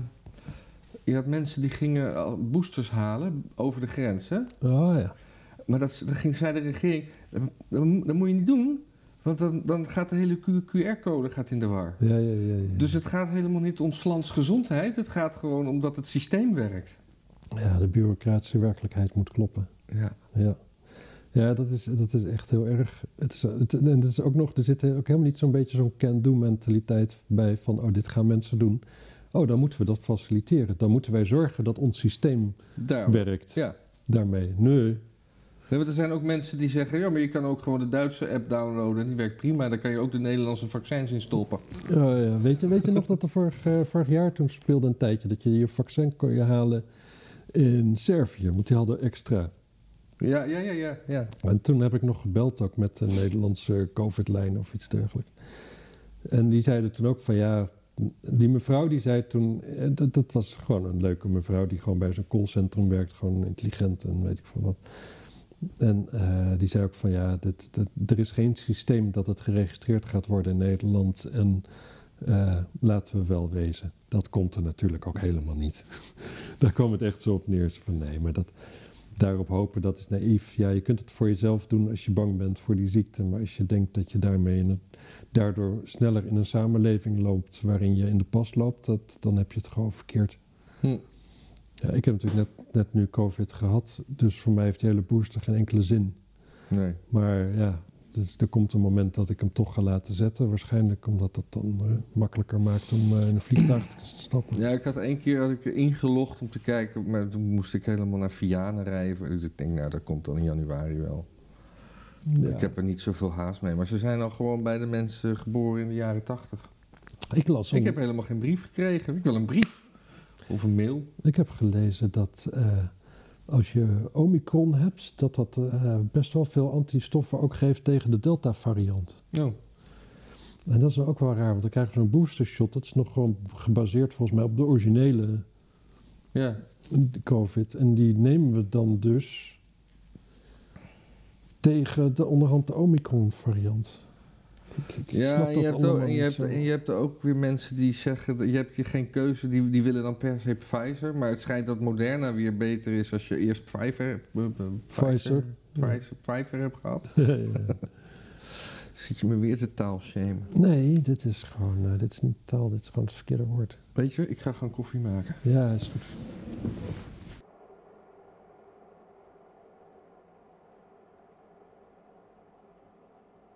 Speaker 2: je had mensen die gingen al boosters halen over de grens, hè?
Speaker 1: Oh ja.
Speaker 2: Maar dat, dat ging, zei de regering, dat, dat moet je niet doen, want dan, dan gaat de hele QR-code gaat in de war.
Speaker 1: Ja, ja, ja. ja.
Speaker 2: Dus het gaat helemaal niet om 's lands gezondheid, het gaat gewoon om dat het systeem werkt.
Speaker 1: Ja, de bureaucratische werkelijkheid moet kloppen.
Speaker 2: Ja.
Speaker 1: Ja. Ja, dat is, dat is echt heel erg. Het is, het, en het is ook nog, er zit ook helemaal niet zo'n beetje zo'n can-do-mentaliteit bij van, oh, dit gaan mensen doen. Oh, dan moeten we dat faciliteren. Dan moeten wij zorgen dat ons systeem
Speaker 2: Daarom.
Speaker 1: werkt
Speaker 2: Ja.
Speaker 1: daarmee. Nee.
Speaker 2: Nee, want er zijn ook mensen die zeggen, ja, maar je kan ook gewoon de Duitse app downloaden en die werkt prima. Dan kan je ook de Nederlandse vaccins in stoppen.
Speaker 1: Oh ja. weet, je, weet je nog dat er vorig, eh, vorig jaar toen speelde een tijdje dat je je vaccin kon je halen in Servië? Want die hadden extra.
Speaker 2: Ja, ja, ja, ja. ja.
Speaker 1: En toen heb ik nog gebeld ook met de Nederlandse COVID-lijn of iets dergelijks. En die zeiden toen ook van ja, die mevrouw die zei toen, eh, dat, dat was gewoon een leuke mevrouw die gewoon bij zo'n callcentrum werkt, gewoon intelligent en weet ik veel wat. En eh, die zei ook van ja, dit, dit- er is geen systeem dat het geregistreerd gaat worden in Nederland en eh, laten we wel wezen. Dat komt er natuurlijk ook helemaal niet. Daar kwam het echt zo op neer. Zo Van nee, maar dat, daarop hopen, dat is naïef. Ja, je kunt het voor jezelf doen als je bang bent voor die ziekte. Maar als je denkt dat je daarmee in een- daardoor sneller in een samenleving loopt waarin je in de pas loopt, dat, dan heb je het gewoon verkeerd.
Speaker 2: Hm.
Speaker 1: Ja, ik heb natuurlijk net, net nu COVID gehad, dus voor mij heeft die hele booster geen enkele zin.
Speaker 2: Nee.
Speaker 1: Maar ja, dus er komt een moment dat ik hem toch ga laten zetten. Waarschijnlijk omdat dat dan eh, makkelijker maakt om eh, in een vliegtuig te stappen.
Speaker 2: Ja, ik had één keer had ik ingelogd om te kijken, maar toen moest ik helemaal naar Vianen rijden. Dus ik denk, nou, dat komt dan in januari wel.
Speaker 1: Ja.
Speaker 2: Ik heb er niet zoveel haast mee, maar ze zijn al gewoon bij de mensen geboren in de jaren tachtig.
Speaker 1: ik las
Speaker 2: Ik
Speaker 1: om-
Speaker 2: heb helemaal geen brief gekregen. Ik wil een brief. Of een mail.
Speaker 1: Ik heb gelezen dat eh, als je Omicron hebt, dat dat eh, best wel veel antistoffen ook geeft tegen de Delta-variant.
Speaker 2: Oh.
Speaker 1: En dat is ook wel raar, want dan krijg je zo'n boostershot. Dat is nog gewoon gebaseerd volgens mij op de originele
Speaker 2: Ja.
Speaker 1: COVID. En die nemen we dan dus tegen de onderhand de Omicron-variant. Ik- ik- ik snap
Speaker 2: Ja, en
Speaker 1: dat
Speaker 2: je, hebt
Speaker 1: allemaal
Speaker 2: ook, en,
Speaker 1: niet
Speaker 2: je hebt,
Speaker 1: zo.
Speaker 2: en je hebt ook weer mensen die zeggen, dat- je hebt hier geen keuze, die, die willen dan per se Pfizer. Maar het schijnt dat Moderna weer beter is als je eerst Pfizer, hebt- eh, eh,
Speaker 1: Pfizer.
Speaker 2: Pfizer, Pfizer hebt gehad.
Speaker 1: Ja, ja, ja.
Speaker 2: Zit je me weer te taalshamen.
Speaker 1: Nee, dit is gewoon, eh, dit is niet taal, dit is gewoon het verkeerde woord.
Speaker 2: Weet je, ik ga gewoon koffie maken.
Speaker 1: Ja, is goed.